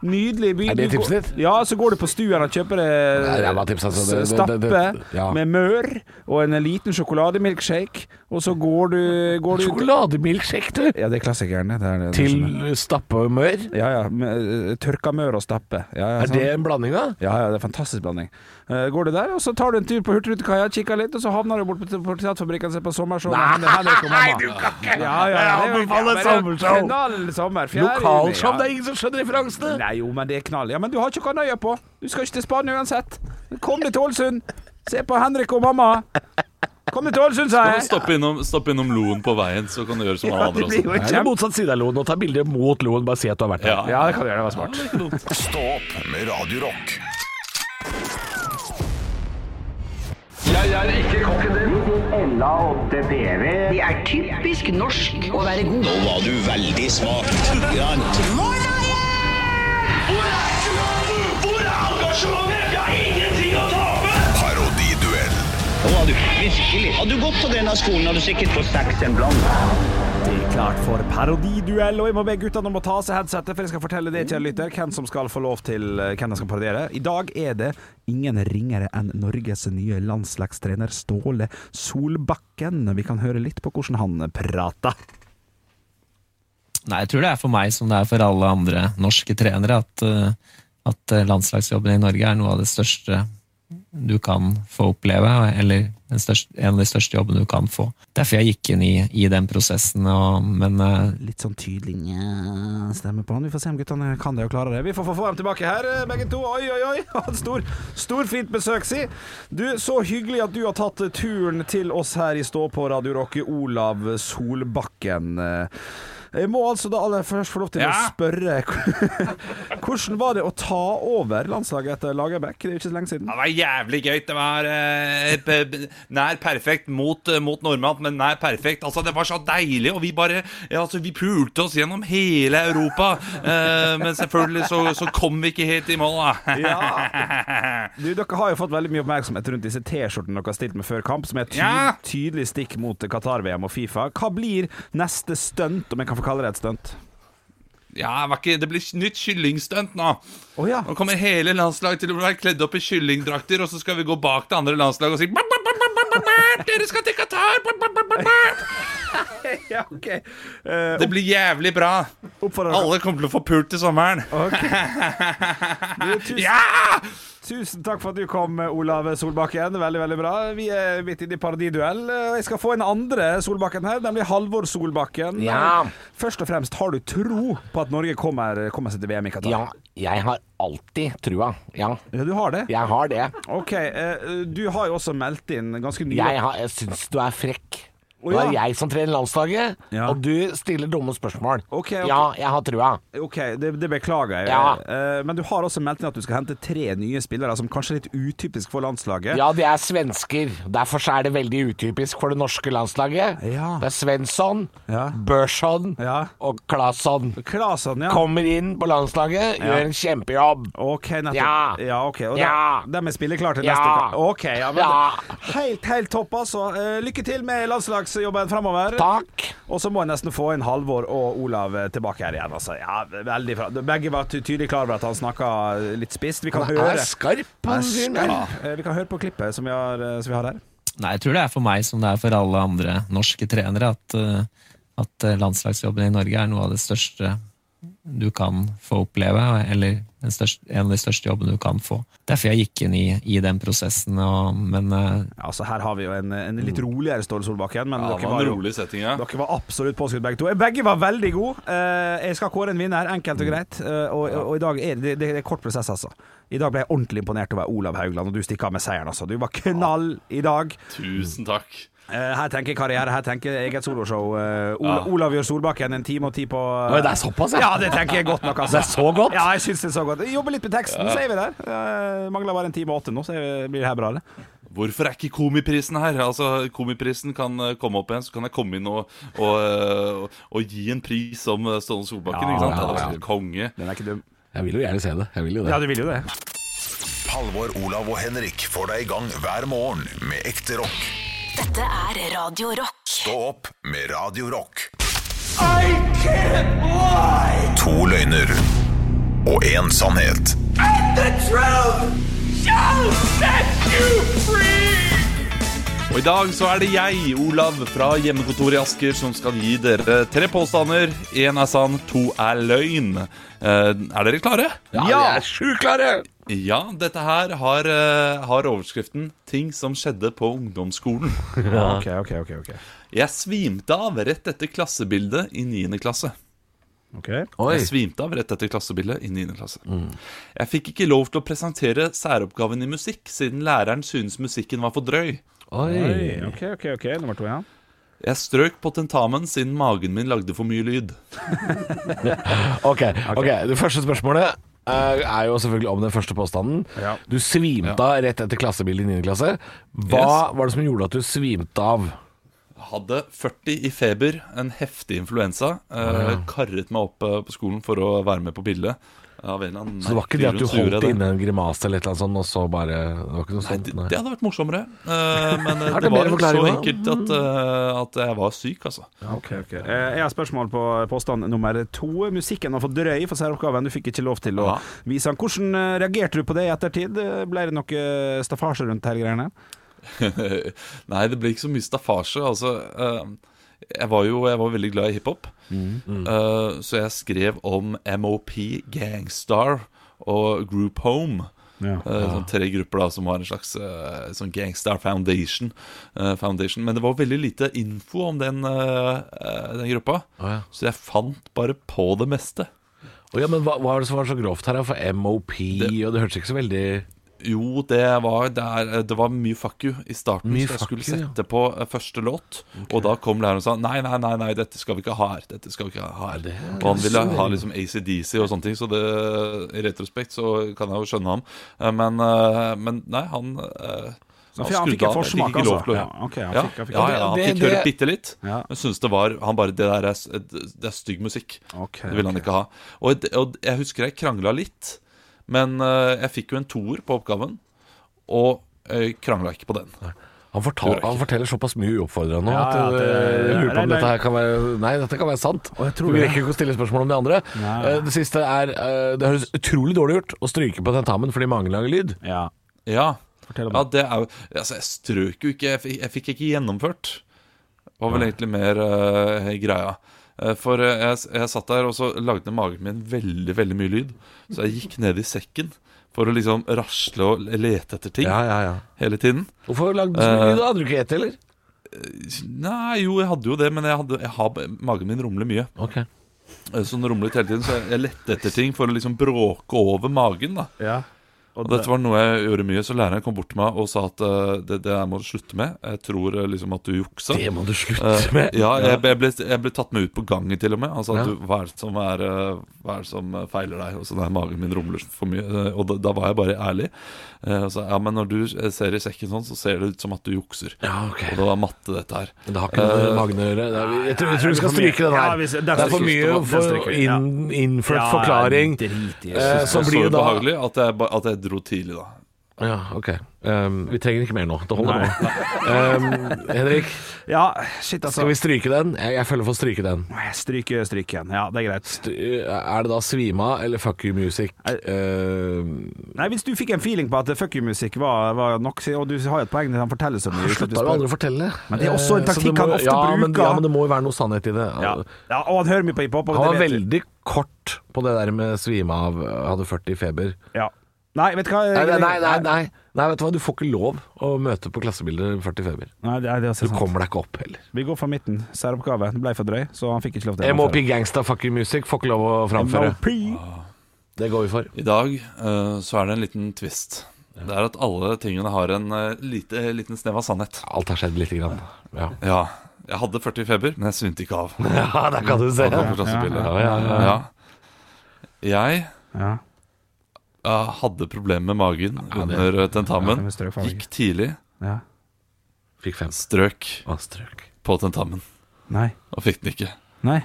D: Nydelig by.
E: Er det
D: Du går-
E: tipset ditt?
D: Ja, så går du på Stuen og kjøper
E: Nei, det er bare
D: eh,
E: tips, altså. Det-
D: s-
E: det-
D: stappe
E: det- det- ja.
D: med mør og en liten sjokolademilkshake, og så går du, går du ut-
E: Sjokolademilkshake, du.
D: Ja, det er klassikeren. Det er, det er,
E: Til
D: sånn.
E: stappe og mør.
D: Ja, ja. med, eh, Tørka mør og stappe. Ja, ja,
E: Er
D: sånn.
E: det en blanding, da?
D: Ja, ja, det er en fantastisk blanding. Eh, går du der, og så tar du en tur på Hurtigrutekaia, kikker litt, og så havner du bort på Portrettfabrikken og ser på sommershow. Nei, Henrik og mamma. du kan ikke! Ja, ja, ja, det er jo- men
E: anbefaler
D: det er jo
E: sommershow.
D: Knall sommer. fjerde juni,
E: Lokalshow,
D: ja.
E: det er ingen som skjønner referansene!
D: Nei, jo, men det er knall. Ja, men du har ikke Kanøya på. Du skal ikke til Spania uansett. Kom deg til Ålesund. Se på Henrik og mamma. Kom deg til Ålesund, sier jeg.
C: Stopp innom, stopp innom loen på veien, så kan du gjøre som alle
D: Ja,
C: andre
D: det blir
C: også.
D: jo
E: Det er
D: kjempe...
E: motsatt side av loen. Nå ta bilde mot loen, bare si at du har vært der.
C: Ja.
D: Ja, det kan du gjøre. Det var smart.
A: Stå opp med Radio Rock.
G: Ella 8 PV. Det er typisk norsk å være god.
H: Nå var du veldig smak. Grann.
I: Hvor er engasjementet? Vi har ingenting å tape!
A: Parodiduell.
H: Nå var du virkelig. Hadde du gått på denne skolen, hadde du sikkert fått seks en blant.
D: Det er klart for parodiduell, og jeg må be guttene om å ta av seg headsetet, for jeg skal fortelle det, kjære lytter, hvem som skal få lov til eh, hvem de skal parodiere. I dag er det ingen ringere enn Norges nye landslagstrener Ståle Solbakken. Vi kan høre litt på hvordan han prater.
J: Nei, jeg tror det er for meg som det er for alle andre norske trenere at, eh, at eh, landslagsjobben i Norge er noe av det største du kan få oppleve, eller den største, en av de største jobbene du kan få. Derfor jeg gikk inn i, i den prosessen, og, men eh,
D: Litt sånn tydelig nja, stemme på han. Vi får se om guttene kan det og klarer det. Vi får få få dem tilbake her, eh, begge to. Oi, oi, oi! (laughs) Han Stor, stor fint besøk, si. Du, så hyggelig at du har tatt eh, turen til oss her i Stå på Radio Rock, Olav Solbakken. Eh, Jeg må altså da aller først få lov til å
C: Ja.
D: spørre (laughs) Hvordan var det å ta over landslaget etter Lagerbäck? Det er jo ikke så lenge siden.
C: Ja, Det var jævlig gøy. Det var eh, pe- pe- nær perfekt mot, eh, mot Normand, men nær perfekt. Altså, det var så deilig, og vi bare ja, altså, Vi pulte oss gjennom hele Europa. Eh, men selvfølgelig så, så kom vi ikke helt i mål, da. (laughs)
D: Ja. Du, dere har jo fått veldig mye oppmerksomhet rundt disse T-skjortene dere har stilt med før kamp, som er et ty
C: Ja.
D: tydelig stikk mot Qatar-VM og Fifa. Hva blir neste stunt, om jeg kan få kalle det et stunt?
C: Ja, det var ikke, Det blir nytt kyllingstunt nå.
D: Å ja.
C: Nå kommer hele landslaget til å være kledd opp i kyllingdrakter, og så skal vi gå bak det andre landslaget og si "Bap, bap, bap, bap, bap, bap, bap, Dere skal til Qatar! Bap, bap, bap, bap, bap."
D: (laughs) ja ok. Eh,
C: Det blir jævlig bra.
D: oppfordrer dere.
C: Alle kommer til å få pult til sommeren.
D: Du, tusen,
C: Ja!
D: tusen takk for at du kom, Olav Solbakken. Veldig, veldig bra. Vi er midt inne i parodiduell. Eh, Jeg skal få en andre Solbakken her, nemlig Halvor Solbakken. Eh,
E: Ja.
D: Først og fremst, har du tro på at Norge kommer, kommer seg til VM i Qatar?
E: Ja, jeg har alltid trua. Ja,
D: ja du har det?
E: jeg har det.
D: OK. eh, du har jo også meldt inn ganske nylig
E: Jeg, har, jeg syns du er frekk.
D: Å,
E: Det
D: ja.
E: er jeg som trener landslaget,
D: Ja.
E: og du stiller dumme spørsmål.
D: Ok, ok.
E: Ja, jeg har trua.
D: Ok, det, det beklager jeg.
E: Ja.
D: Eh, Men du har også meldt inn at du skal hente tre nye spillere, som kanskje er litt utypisk for landslaget.
E: Ja, de er svensker. Derfor så er det veldig utypisk for det norske landslaget.
D: Ja.
E: Det er Svensson,
D: Ja.
E: Børsson
D: Ja.
E: og Claesson.
D: Klasen, ja.
E: Kommer inn på landslaget, gjør en kjempejobb.
D: Ok, nettopp.
E: Ja.
D: ok. Og
E: Ja.
D: de, de er spilleklare til
E: Ja.
D: neste kamp. Ok, ja, men
E: Ja.
D: Helt, helt topp, altså. Eh, Lykke til med landslagsjobben framover.
E: Takk.
D: Og så må jeg nesten få inn Halvor og Olav eh, tilbake her igjen. Altså. Ja, veldig bra. Begge var ty- tydelig klar over at han snakka litt spisst. Vi kan
E: Han er
D: høre
E: skarp, han fyren der.
D: Eh, Vi kan høre på klippet som vi har, eh, som vi har her.
J: Nei, jeg tror det er for meg som det er for alle andre norske trenere, at, eh, at eh, landslagsjobben i Norge er noe av det største du kan få oppleve, eller den største, en av de største jobbene du kan få. Derfor jeg gikk inn i, i den prosessen, og, men eh,
D: Ja, altså, her har vi jo en, en litt roligere Ståle Solbakken, men
C: Ja, det
D: dere,
C: var
D: var
C: en
D: jo,
C: rolig setting, ja.
D: dere var absolutt påskudd begge to. Eh, Begge var veldig gode. Eh, Jeg skal kåre en vinner, enkelt og greit. Eh, Og, og, og i dag er det, det, det er kort prosess, altså. I dag ble jeg ordentlig imponert over Olav Haugland, og du stikker av med seieren, altså. Du var knall i dag.
C: Tusen takk.
D: Eh, Her tenker jeg karriere, her tenker jeg eget soloshow. Eh, Ola,
C: Ja.
D: Olav gjør Solbakken en time og ti på
E: Oi, det er såpass,
D: ja, det tenker jeg godt nok, altså.
E: Det er så godt?
D: Ja, jeg syns det er så godt. Jeg Jobber litt med teksten, så er vi der. Eh, mangler bare en time og åtte nå, så er vi- blir det her bra, eller?
C: Hvorfor er ikke Komiprisen her? Altså, Komiprisen kan eh, komme opp igjen, så kan jeg komme inn og, og, eh, og, og gi en pris som eh, Ståle Solbakken.
D: Ja,
C: ikke sant?
E: ja,
C: Det hadde vært
E: ja.
C: Konge.
D: Den er ikke dum.
E: Jeg vil jo gjerne se det. Jeg vil jo det.
D: Ja, du vil jo det.
A: Halvor, Olav og Henrik får deg i gang hver morgen med ekte rock.
B: Dette er Radio Rock.
A: Stå opp med Radio Rock.
I: I can't lie!
A: To løgner og én sannhet.
I: And the truth shall set you free!
C: Og i dag så er det jeg, Olav fra hjemmekontoret i Asker, som skal gi dere tre påstander. Én er sann, to er løgn. Eh, er dere klare?
E: Ja, vi er sjukt klare!
C: Ja, dette her har, eh, har overskriften 'Ting som skjedde på ungdomsskolen'.
D: Ok, ok, ok. ok,
C: Jeg svimte av rett etter klassebildet i 9. klasse.
D: Ok.
E: Oi. Mm.
C: Jeg svimte av rett etter klassebildet i 9. klasse. Jeg fikk ikke lov til å presentere særoppgaven i musikk, siden læreren syntes musikken var for drøy.
E: Oi.
D: Oi, ok, ok, ok, nummer to, ja.
C: Jeg strøk på tentamen siden magen min lagde for mye lyd.
E: Ok, ok, det første spørsmålet eh, er jo selvfølgelig om den første påstanden.
D: Ja.
E: Du svimte av rett etter klassebildet i 9. klasse. Hva var det som gjorde at du svimte av?
C: Hadde 40 i feber, en heftig influensa. Eh, karret meg opp eh, på skolen for å være med på bildet. Av en eller annen
E: Så det var ikke det
C: merkelig
E: at du
C: grunn så gjorde
E: holdt
C: jeg det.
E: inne en grimase eller et eller annet sånt, og så bare Det var ikke noe sånt?
C: Det,
E: nei.
C: det hadde vært morsommere. Eh, men eh,
E: Er det
C: det var jo
E: mer
C: så
E: forklaring, da?
C: enkelt at, eh, at jeg var syk, altså.
D: Eh, Jeg har spørsmål på påstand nummer to. Musikken var for drøy for særoppgaven. Du fikk ikke lov til å
C: Ja.
D: vise den. Hvordan eh, reagerte du på det i ettertid? Eh, Ble det noe eh, staffasje rundt her greiene?
C: (laughs) Nei, det ble ikke så mye staffasje. Altså, eh, jeg var jo jeg var veldig glad i hiphop,
E: Mm.
C: Eh, så jeg skrev om MOP, Gangstar og Group Home. Eh, sånn tre grupper da som var en slags eh, sånn Gangstar Foundation, eh, Foundation. Men det var veldig lite info om den, eh, eh, den gruppa,
E: Å, ja.
C: så jeg fant bare på det meste.
E: Å ja, men hva, hva var det som var så grovt her? da? For MOP, og det hørtes ikke så veldig
C: Jo, det var, det er, eh, det var mye fuck you i starten.
E: Mye
C: så jeg
E: fuck
C: skulle
E: you, ja.
C: sette på eh, første låt, og da kom læreren og sa nei, nei, nei, nei, dette skal vi ikke ha her. Dette skal vi ikke ha her. Og han ville ha liksom ACDC og sånne ting, så det, i retrospekt så kan jeg jo skjønne ham. Eh, Men, eh, men nei, han
D: Han
C: eh,
D: fikk- han fikk en
C: jeg
D: forsmak,
C: ikke lov
D: altså.
C: til å-
D: Ja, ok, han
C: ja,
D: fikk- han fikk-
C: ja, ja, han
E: Det-
C: fikk
E: det-
C: høre bitte litt.
D: Ja.
C: Jeg synes det var Han bare Det der er, s- det er stygg musikk.
D: Ok,
C: det ville han ikke ha. Og, det- og jeg husker jeg krangla litt, men eh, jeg fikk jo en toer på oppgaven, og uh, krangla ikke på den.
E: han,
C: Det
E: fortal,
C: var ikke-
E: han forteller såpass mye uoppfordrende nå
D: Ja,
E: at
D: ja,
E: eh,
D: det-
E: jeg lurer på
D: nei,
E: om
D: nei.
E: dette her kan være Nei, dette kan være sant.
D: jeg tror
E: For vi
D: det.
E: rekker ikke å stille spørsmål om de andre.
D: Nei.
E: Eh, det siste er eh, Det høres utrolig dårlig ut å stryke på tentamen fordi magen lager lyd.
D: Ja.
C: Ja,
D: Fortell om
C: ja det er jo Altså, jeg strøk jo ikke. Jeg fikk, jeg fikk ikke gjennomført. Det var vel egentlig mer eh, greia. Eh, For eh, jeg, s- jeg satt der, og så lagde magen min veldig veldig mye lyd. Så jeg gikk ned i sekken for å liksom rasle og lete etter ting
E: ja, ja.
C: hele tiden.
E: Hvorfor lagde du så mye lyd? da? Hadde du ikke ett, eller?
C: Nei, jo, jeg hadde jo det, men jeg hadde, jeg har, magen min rumler mye.
E: Ok
C: Eh, Så den rumlet hele tiden, så jeg, jeg lette etter ting for å liksom bråke over magen. da
D: Ja.
C: Og dette var noe jeg gjorde mye, så læreren kom bort til meg og sa at eh, det, det her må du slutte med. Jeg tror eh, liksom at du juksa.
E: Det må du
C: Eh,
E: slutte med.
C: ja, jeg, jeg, ble, jeg ble tatt med ut på gangen til og med. Altså,
E: Ja.
C: at du, hva, er det som er, eh, hva er det som eh, feiler deg? Og så nei, magen min rumler for mye. Eh, Og da, da var jeg bare ærlig. Eh, Og så, ja, men når du eh, ser i sekken sånn, så ser det ut som at du jukser.
E: Ja,
C: Og
E: ok.
C: det var matte, dette her.
E: Men det har ikke noe med
C: Eh,
E: magen å gjøre. Det er- Jeg tror, jeg tror
D: det er
E: vi skal
D: for
E: stryke den
D: mye.
E: her.
D: Ja, hvis- det er
E: det er for
D: for
E: mye
D: mye. Den
E: for
D: stryker vi, ja.
E: inn, innført
D: Ja,
E: forklaring.
D: drit i det.
E: Eh,
C: Så,
E: Som
C: så
E: blir da
C: ubehagelig at jeg, ba- at jeg dro tidlig, da.
E: Ja, ok. Um, vi trenger ikke mer nå. Det holder nå. Um, Henrik,
D: Ja, shit, altså.
E: skal vi stryke den? Jeg, jeg føler for å stryke den.
D: Stryk, eh, stryk igjen. Ja, det er greit.
E: St- Er det da svima eller fuck you music? Eh,
D: Nei, Hvis du fikk en feeling på at eh, fuck you-musikk var, var nok si- Og du har jo et poeng, han forteller så mye. uten at
E: Slutta
D: du
E: jo
D: spør.
E: aldri å fortelle.
D: Men det er også en
E: Eh, så det
D: taktikk han
E: må-
D: ofte
E: ja, Men,
D: bruker.
E: ja, men det må jo være noe sannhet i det.
D: ja. ja, Og han hører mye på hiphop. og
E: Han
D: det
E: var
D: vet vi.
E: veldig kort på det der med svime av, hadde 40 i feber.
D: ja. Nei, vet du hva
E: Nei, nei, nei, nei, nei. nei, vet du hva, du får ikke lov å møte på klassebildet 40 feber.
D: Nei, det er det er
E: Du
D: sant.
E: kommer deg ikke opp heller.
D: Vi går fra midten. Særoppgave. Den ble for drøy, så han fikk ikke lov til å
E: MOP Gangsta Fucking Music får ikke lov å framføre.
D: MOP.
E: Det går vi for.
C: I dag eh, så er det en liten twist. Det er at alle tingene har en eh, lite, liten snev av sannhet.
E: Alt har skjedd lite grann. Ja,
C: Ja, jeg hadde 40 i feber, men jeg svimte ikke av.
E: (laughs) ja der kan du se.
C: Det var på klassebildet.
E: Ja, ja, ja.
C: Jeg
D: Ja.
C: eh, hadde problemer med magen under eh, tentamen.
D: Ja, det er strøk for meg.
C: Gikk tidlig,
D: Ja.
E: Fikk fem
C: strøk
E: strøk.
C: på tentamen.
D: Nei.
C: Og fikk den ikke.
D: Nei.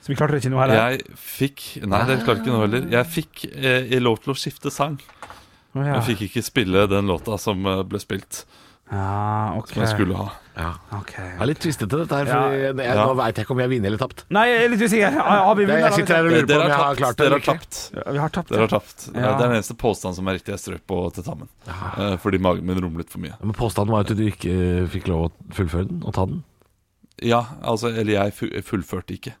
D: Så vi klarte det ikke nå heller?
C: Jeg fikk Nei, det klarte ikke nå heller. Jeg fikk eh, lov til å skifte sang.
D: Å, ja.
C: Jeg fikk ikke spille den låta som eh, ble spilt,
D: Ja, ok.
C: som jeg skulle ha.
D: Ok.
E: Det er litt tvistete dette her, for jeg, jeg, nå veit jeg ikke om jeg vinner eller tapt.
D: Nei, jeg er litt usikker. Har har vi
E: Det, jeg
D: vunnet?
E: sitter her og
C: Eh,
E: lurer på
C: Dere
E: om jeg
C: har
E: har
C: tapt.
E: klart det.
C: Dere
E: eller
C: har
E: ikke.
C: tapt.
D: Ja, Vi har tapt.
C: Dere har
D: ja.
C: tapt.
D: Ja.
C: Det er den eneste påstanden som er riktig. Jeg strøk på tentamen. Eh, Fordi magen min rumlet for mye.
E: Men påstanden var jo at du ikke eh, fikk lov å fullføre den og ta den.
C: Ja, altså, eller jeg fu- fullførte ikke.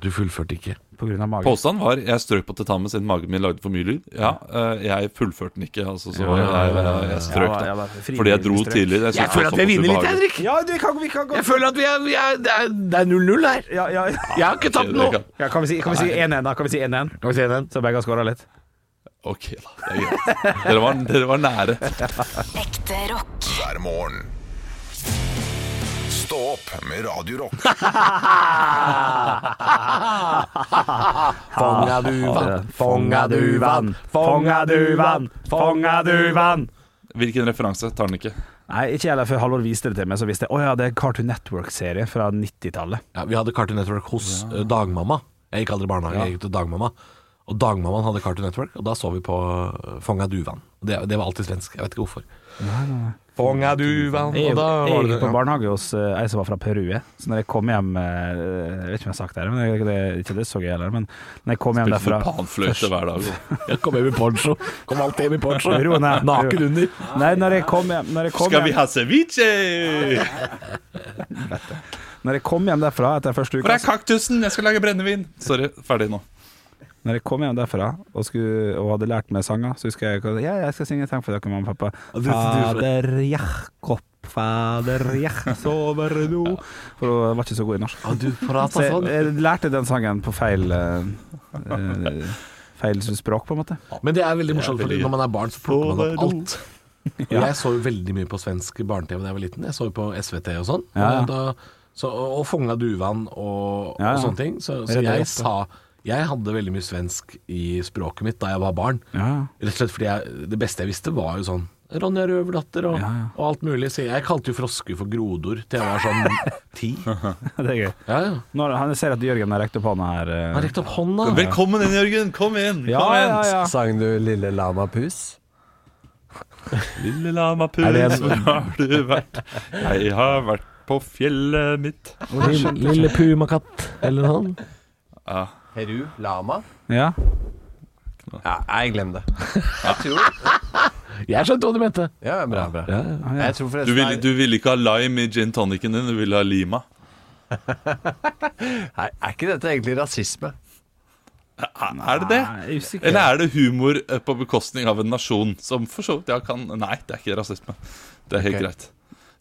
E: Du fullførte ikke.
D: På grunn av magen.
C: Påstanden var jeg strøk på tentamen siden magen min lagde for mye lyd. Ja, eh, jeg fullførte den ikke, altså, så jeg, jeg, jeg strøk,
D: Ja, ja,
C: da.
D: ja, frivillig
C: Fordi jeg dro
D: strøk.
C: tidlig. Jeg,
E: Jeg føler at jeg vinner litt, Henrik.
D: Ja, du, kan, vi kan gå
E: Jeg føler at vi er, vi er, det er- det er 0-0 her.
D: Ja, ja, ja.
E: Jeg har ikke tapt noe.
D: ja kan vi si- kan vi si 1-1, da? Kan vi si 1-1?
E: Kan vi se den?
D: Så begge har skåra litt?
C: Ok, da. Det er greit. Dere var, dere var nære.
B: Ekte rock.
A: hver morgen. Stå opp med Radio Rock.
E: Fonga du vann, fonga du vann, fonga du vann,
D: Fonga du vann!
C: Hvilken referanse tar den ikke?
D: Nei, ikke heller før Halvor viste det til meg. Så visste jeg Å ja, det er en Cartoon Network-serie fra 90-tallet.
E: Ja, vi hadde Cartoon Network hos eh, dagmamma. Jeg gikk aldri i barnehage, jeg gikk til dagmamma. Og dagmammaen hadde Cartoon Network, og da så vi på eh, Fonga duvan. Og Det, det var alltid svensk, jeg vet ikke hvorfor. Fonga duvan,
D: Jeg,
E: og da var
D: jeg
E: det
D: gikk på barnehage hos eh, ei som var fra Peru. jeg. Så når jeg kom hjem eh, Jeg vet ikke om jeg har sagt det, her, men jeg, det, ikke det så jeg heller. Men når jeg kom hjem
C: Spilte
D: derfra
C: panfløyte hver dag. og-
E: Jeg kom hjem i poncho. Kom alltid hjem i poncho.
D: Ro ned.
E: (laughs) Naken under.
D: Nei, når jeg kom hjem, når jeg kom
C: Skal vi
D: hjem,
C: ha ceviche?
D: når jeg kom hjem derfra etter første
C: Hvor
D: uka
C: er kaktusen? Jeg skal lage brennevin. Sorry, ferdig nå.
D: Når jeg kom hjem derfra og, skulle, og hadde lært meg sanger, så husker jeg ikke- Ja, jeg skal synge en sang for dere, mamma og pappa. Fader Jakob, fader Jakob, sover nå For hun var ikke så god i norsk.
E: Og du
D: Så
E: prata
D: jeg,
E: sånn.
D: jeg lærte den sangen på feil eh, eh, Feil språk, på en måte.
E: Men det er veldig morsomt, for når man er barn, så plukker man opp alt. Og jeg så jo veldig mye på svensk barne-TV da jeg var liten. Jeg så jo på SVT og sånn.
D: Ja, ja.
E: Da, så, og og Fonga duvan og,
D: Ja, ja.
E: og sånne ting. Så,
D: Redder
E: så jeg
D: opp,
E: sa Jeg hadde veldig mye svensk i språket mitt da jeg var barn.
D: Ja.
E: Rett og slett fordi jeg, det beste jeg visste, var jo sånn Ronja Røverdatter og, og alt mulig. Så jeg kalte jo frosker for grodor til jeg
D: (laughs)
E: var sånn ti.
D: Det er gøy.
E: Ja, ja.
D: Når han ser at Jørgen har rekt opp hånda her eh,
E: Han rekte opp hånda.
C: Velkommen inn, Jørgen. Kom inn.
D: Ja,
C: Kom
D: ja,
C: inn.
D: ja.
K: Sang du Lille Lama Pus?
C: Lille lama pus, hvor har du vært? Jeg har vært på fjellet mitt.
K: Lille,
E: pumakatt, eller noe sånt.
K: Heru Lama?
D: Ja.
K: Ja, jeg glemmer det. Jeg tror
E: Jeg skjønte hva du mente.
K: Ja, bra, bra. Jeg tror
C: Du
K: forresten
C: ville du ville ikke ha lime i gin tonicen din, du ville ha lima.
K: er, Nei, er ikke dette egentlig rasisme?
C: Er det det?
D: Nei, jeg er usikker.
C: Eller er det humor eh, på bekostning av en nasjon som for så vidt ja, kan Nei, det er ikke rasisme. Det er helt
K: Ok.
C: greit.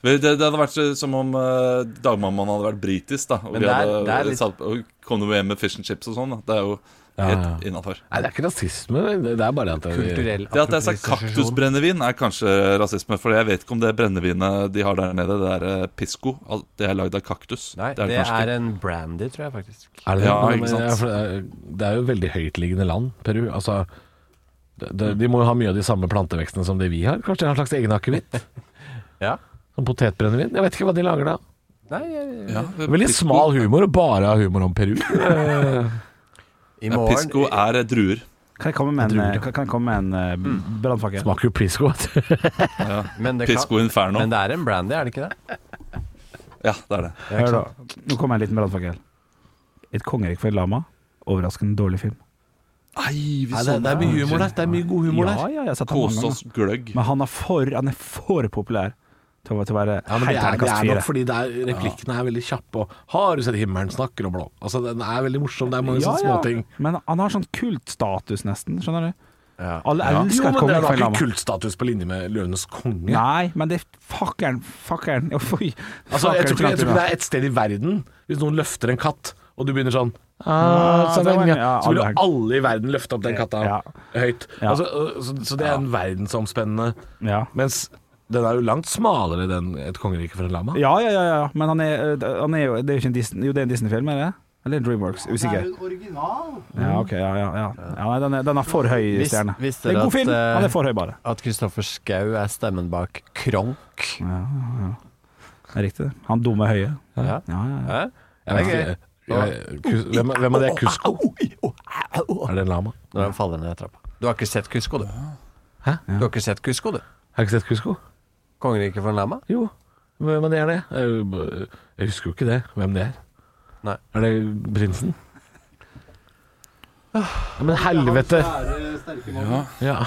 C: Vel, Det, det hadde vært eh, som om eh, dagmammaen hadde vært britisk, da. Og
K: Men
C: vi
K: det er-
C: hadde
K: det er litt-
C: satt- og kom hjem med fish and chips og sånn. da. Det er jo
E: Ja, ja.
C: Helt innafor.
E: Nei, det er ikke rasisme. Det det er bare det at
C: Det at jeg sa kaktusbrennevin, er kanskje rasisme. For jeg vet ikke om det brennevinet de har der nede, det er eh, pisco. Alt Det er lagd av kaktus.
K: Nei,
C: det
K: det
C: kanskje
K: er
C: ikke.
K: en brandy, tror jeg faktisk.
E: Er det det?
C: Ja,
E: Men-
C: ikke sant.
E: ja, for det er- det er jo veldig høytliggende land, Peru. Altså, det, det, de må jo ha mye av de samme plantevekstene som det vi har. Kanskje de har en slags egen
D: (laughs)
E: akevitt?
K: Ja.
E: Som potetbrennevin? Jeg vet ikke hva de lager da.
K: Nei, jeg-
C: Ja,
E: Det er Veldig smal humor, og bare ha humor
D: (laughs)
E: om Peru. Eh,
K: I
C: Ja,
K: morgen
C: Pisco er eh, druer.
D: Kan jeg komme med en,
E: Jeg tror
D: eh, kan jeg komme med en eh, brannfakkel?
E: Smaker jo prisco. vet du.
K: men det,
C: Pisco
K: kan,
C: Inferno.
K: men det er en brandy, er det ikke det?
C: Ja, det er det.
D: Hør da. Nå kommer en liten brannfakkel. Et kongerike for en lama. Overraskende dårlig film.
C: Nei, vi
E: Nei,
C: så
E: det, det er mye humor der. Det er mye god humor
D: Ja,
E: der.
D: ja, jeg har sett den mange
C: Kose
D: ganger.
C: oss gløgg.
D: Men han er for, han er for populær til å, til å være
E: Ja, men det er, det
D: terningkast
E: er nok
D: fire.
E: fordi det er, replikkene er veldig kjappe. Og 'Har du sett himmelen snakker om blå?' Altså, den er veldig morsom. Det er mange
D: Ja,
E: sånne
D: ja.
E: småting.
D: Men han har sånn kultstatus, nesten. Skjønner du? Alle elsker
E: Jo, men
D: et
E: det er
D: kongerike
E: da
D: for en
E: ikke
D: lama.
E: kultstatus på linje med 'Løvenes konge'.
D: Nei, men det Fuckeren, fuckeren (laughs) Oi.
E: Altså, jeg, tror ikke, jeg tror ikke
D: det
E: det er et sted i verden Hvis noen løfter en katt Og du begynner sånn
D: Ah,
E: så,
D: det var en- ja,
E: sånn- så vil jo
D: alle-
E: alle i verden løfte opp den katta
D: Ja.
E: høyt
D: Ja.
E: altså, så, så det er en verdensomspennende
D: ja.
E: Mens den er jo langt smalere Den et kongerike for en lama
D: Ja, ja, ja, ja. Men han er, eh, han er jo Det er jo ikke en Disney Jo, det er en Disney-film, er det? Eller en Dreamworks? Usikker.
G: original.
D: Ja, ok, ja, ja, ja. ja nei, den, er, den har for høy
K: Vis-
D: stjerne.
K: visste
D: Det er en
K: dere
D: god film,
K: at, eh,
D: han er for høy, bare.
K: At Kristoffer Schou er stemmen bak Kronk.
D: Det er riktig. det. Han dumme høye.
K: Ja.
D: Ja, ja, ja.
K: Hæ?
E: Jeg vet ikke, jeg- Kus- hvem, er- hvem er det? Kusko? Er det en lama?
K: Når han faller ned trappa. Du har ikke sett Kusko, du?
E: Hæ?
K: Du har ikke sett Kusko, du?
E: Har jeg ikke sett Kusko?
K: Kongeriket for en lama?
E: Jo, hvem er det? Er det? Jeg, jeg husker jo ikke det, hvem det er
K: Nei.
E: Er det prinsen? Ja, men helvete Ja.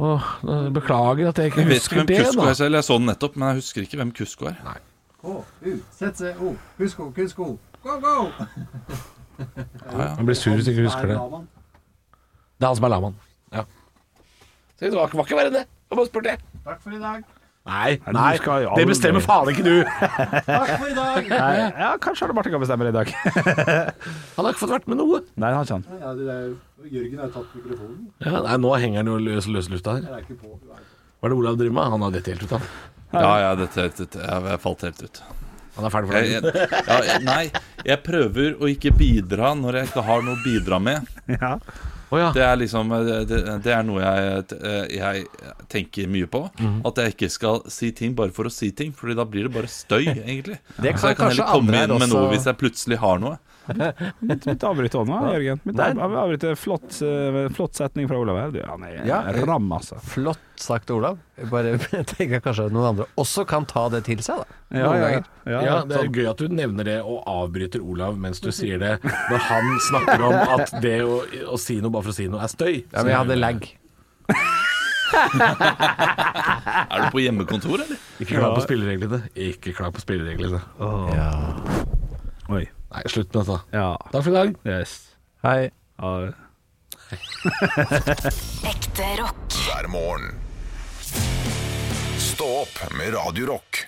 E: Åh, nå- beklager at jeg ikke
C: Jeg vet ikke
E: husker
C: hvem
E: det,
C: Kusko
E: da.
C: er selv. Jeg så den nettopp, men jeg husker ikke hvem Kusko er.
G: H-U-Z-C-O. Kusko, kusko. Go, go!
E: Han blir sur hvis du ikke husker det. Det er han som er lamaen. Ja. Så det var, var ikke verre enn det. Jeg bare spurte. jeg.
G: Takk for i dag.
E: Nei,
D: du
E: nei,
D: skal jo
E: det
D: aldri-
E: bestemmer faen ikke du.
G: Takk for i dag.
D: Nei, ja, kanskje Arne Martin kan bestemme det i dag. (laughs)
E: Han har ikke fått vært med noe.
D: Nei, han har ikke han.
G: Ja, det er, Jørgen har tatt mikrofonen.
E: Ja, nei, nå henger han jo løs, løs i lufta her.
G: Jeg er ikke på.
E: Hva er det Olav driver med? Han har dette helt ut av.
C: Ja, ja, dette, dette, jeg jeg falt helt ut.
E: Han er ferdig for
C: Jeg,
E: dagen.
C: jeg, ja, jeg, nei, jeg prøver å ikke bidra når jeg ikke har noe å bidra med.
D: Ja.
E: Å ja.
C: Det er liksom Det, det er noe jeg, eh, jeg tenker mye på.
K: Mhm.
C: At jeg ikke skal si ting bare for å si ting, Fordi da blir det bare støy, egentlig.
K: Det
C: Så
K: kan
C: jeg kan
K: kanskje
C: heller komme
K: andre
C: inn
K: her
C: med noe
K: også-
C: hvis jeg plutselig har noe.
D: Mitt, mitt avbryt òg nå, Jørgen. Mitt av, avbryt, flott, eh, flott setning fra Olav her. Du, Han er
K: Ja.
D: ram, altså.
K: Flott sagt, Olav. Jeg bare (laughs) tenker kanskje at noen andre også kan ta det til seg, da.
D: Ja, ja, ja.
E: Ja,
D: ja.
E: Det
G: sånn.
E: er gøy at du nevner det og avbryter Olav mens du sier det, når han snakker om at det å, å si noe bare for å si noe er støy.
K: Ja, men jeg hadde lag.
C: Er du på hjemmekontor, eller?
E: Ikke klag på spillereglene. Ikke klag på spillereglene.
D: Oi.
E: Nei, slutt med dette.
D: Ja.
E: Takk for i dag.
D: Yes.
K: Hei.
D: Ja.
B: Ekte rock.
A: hver morgen. Stå opp med Radio Rock.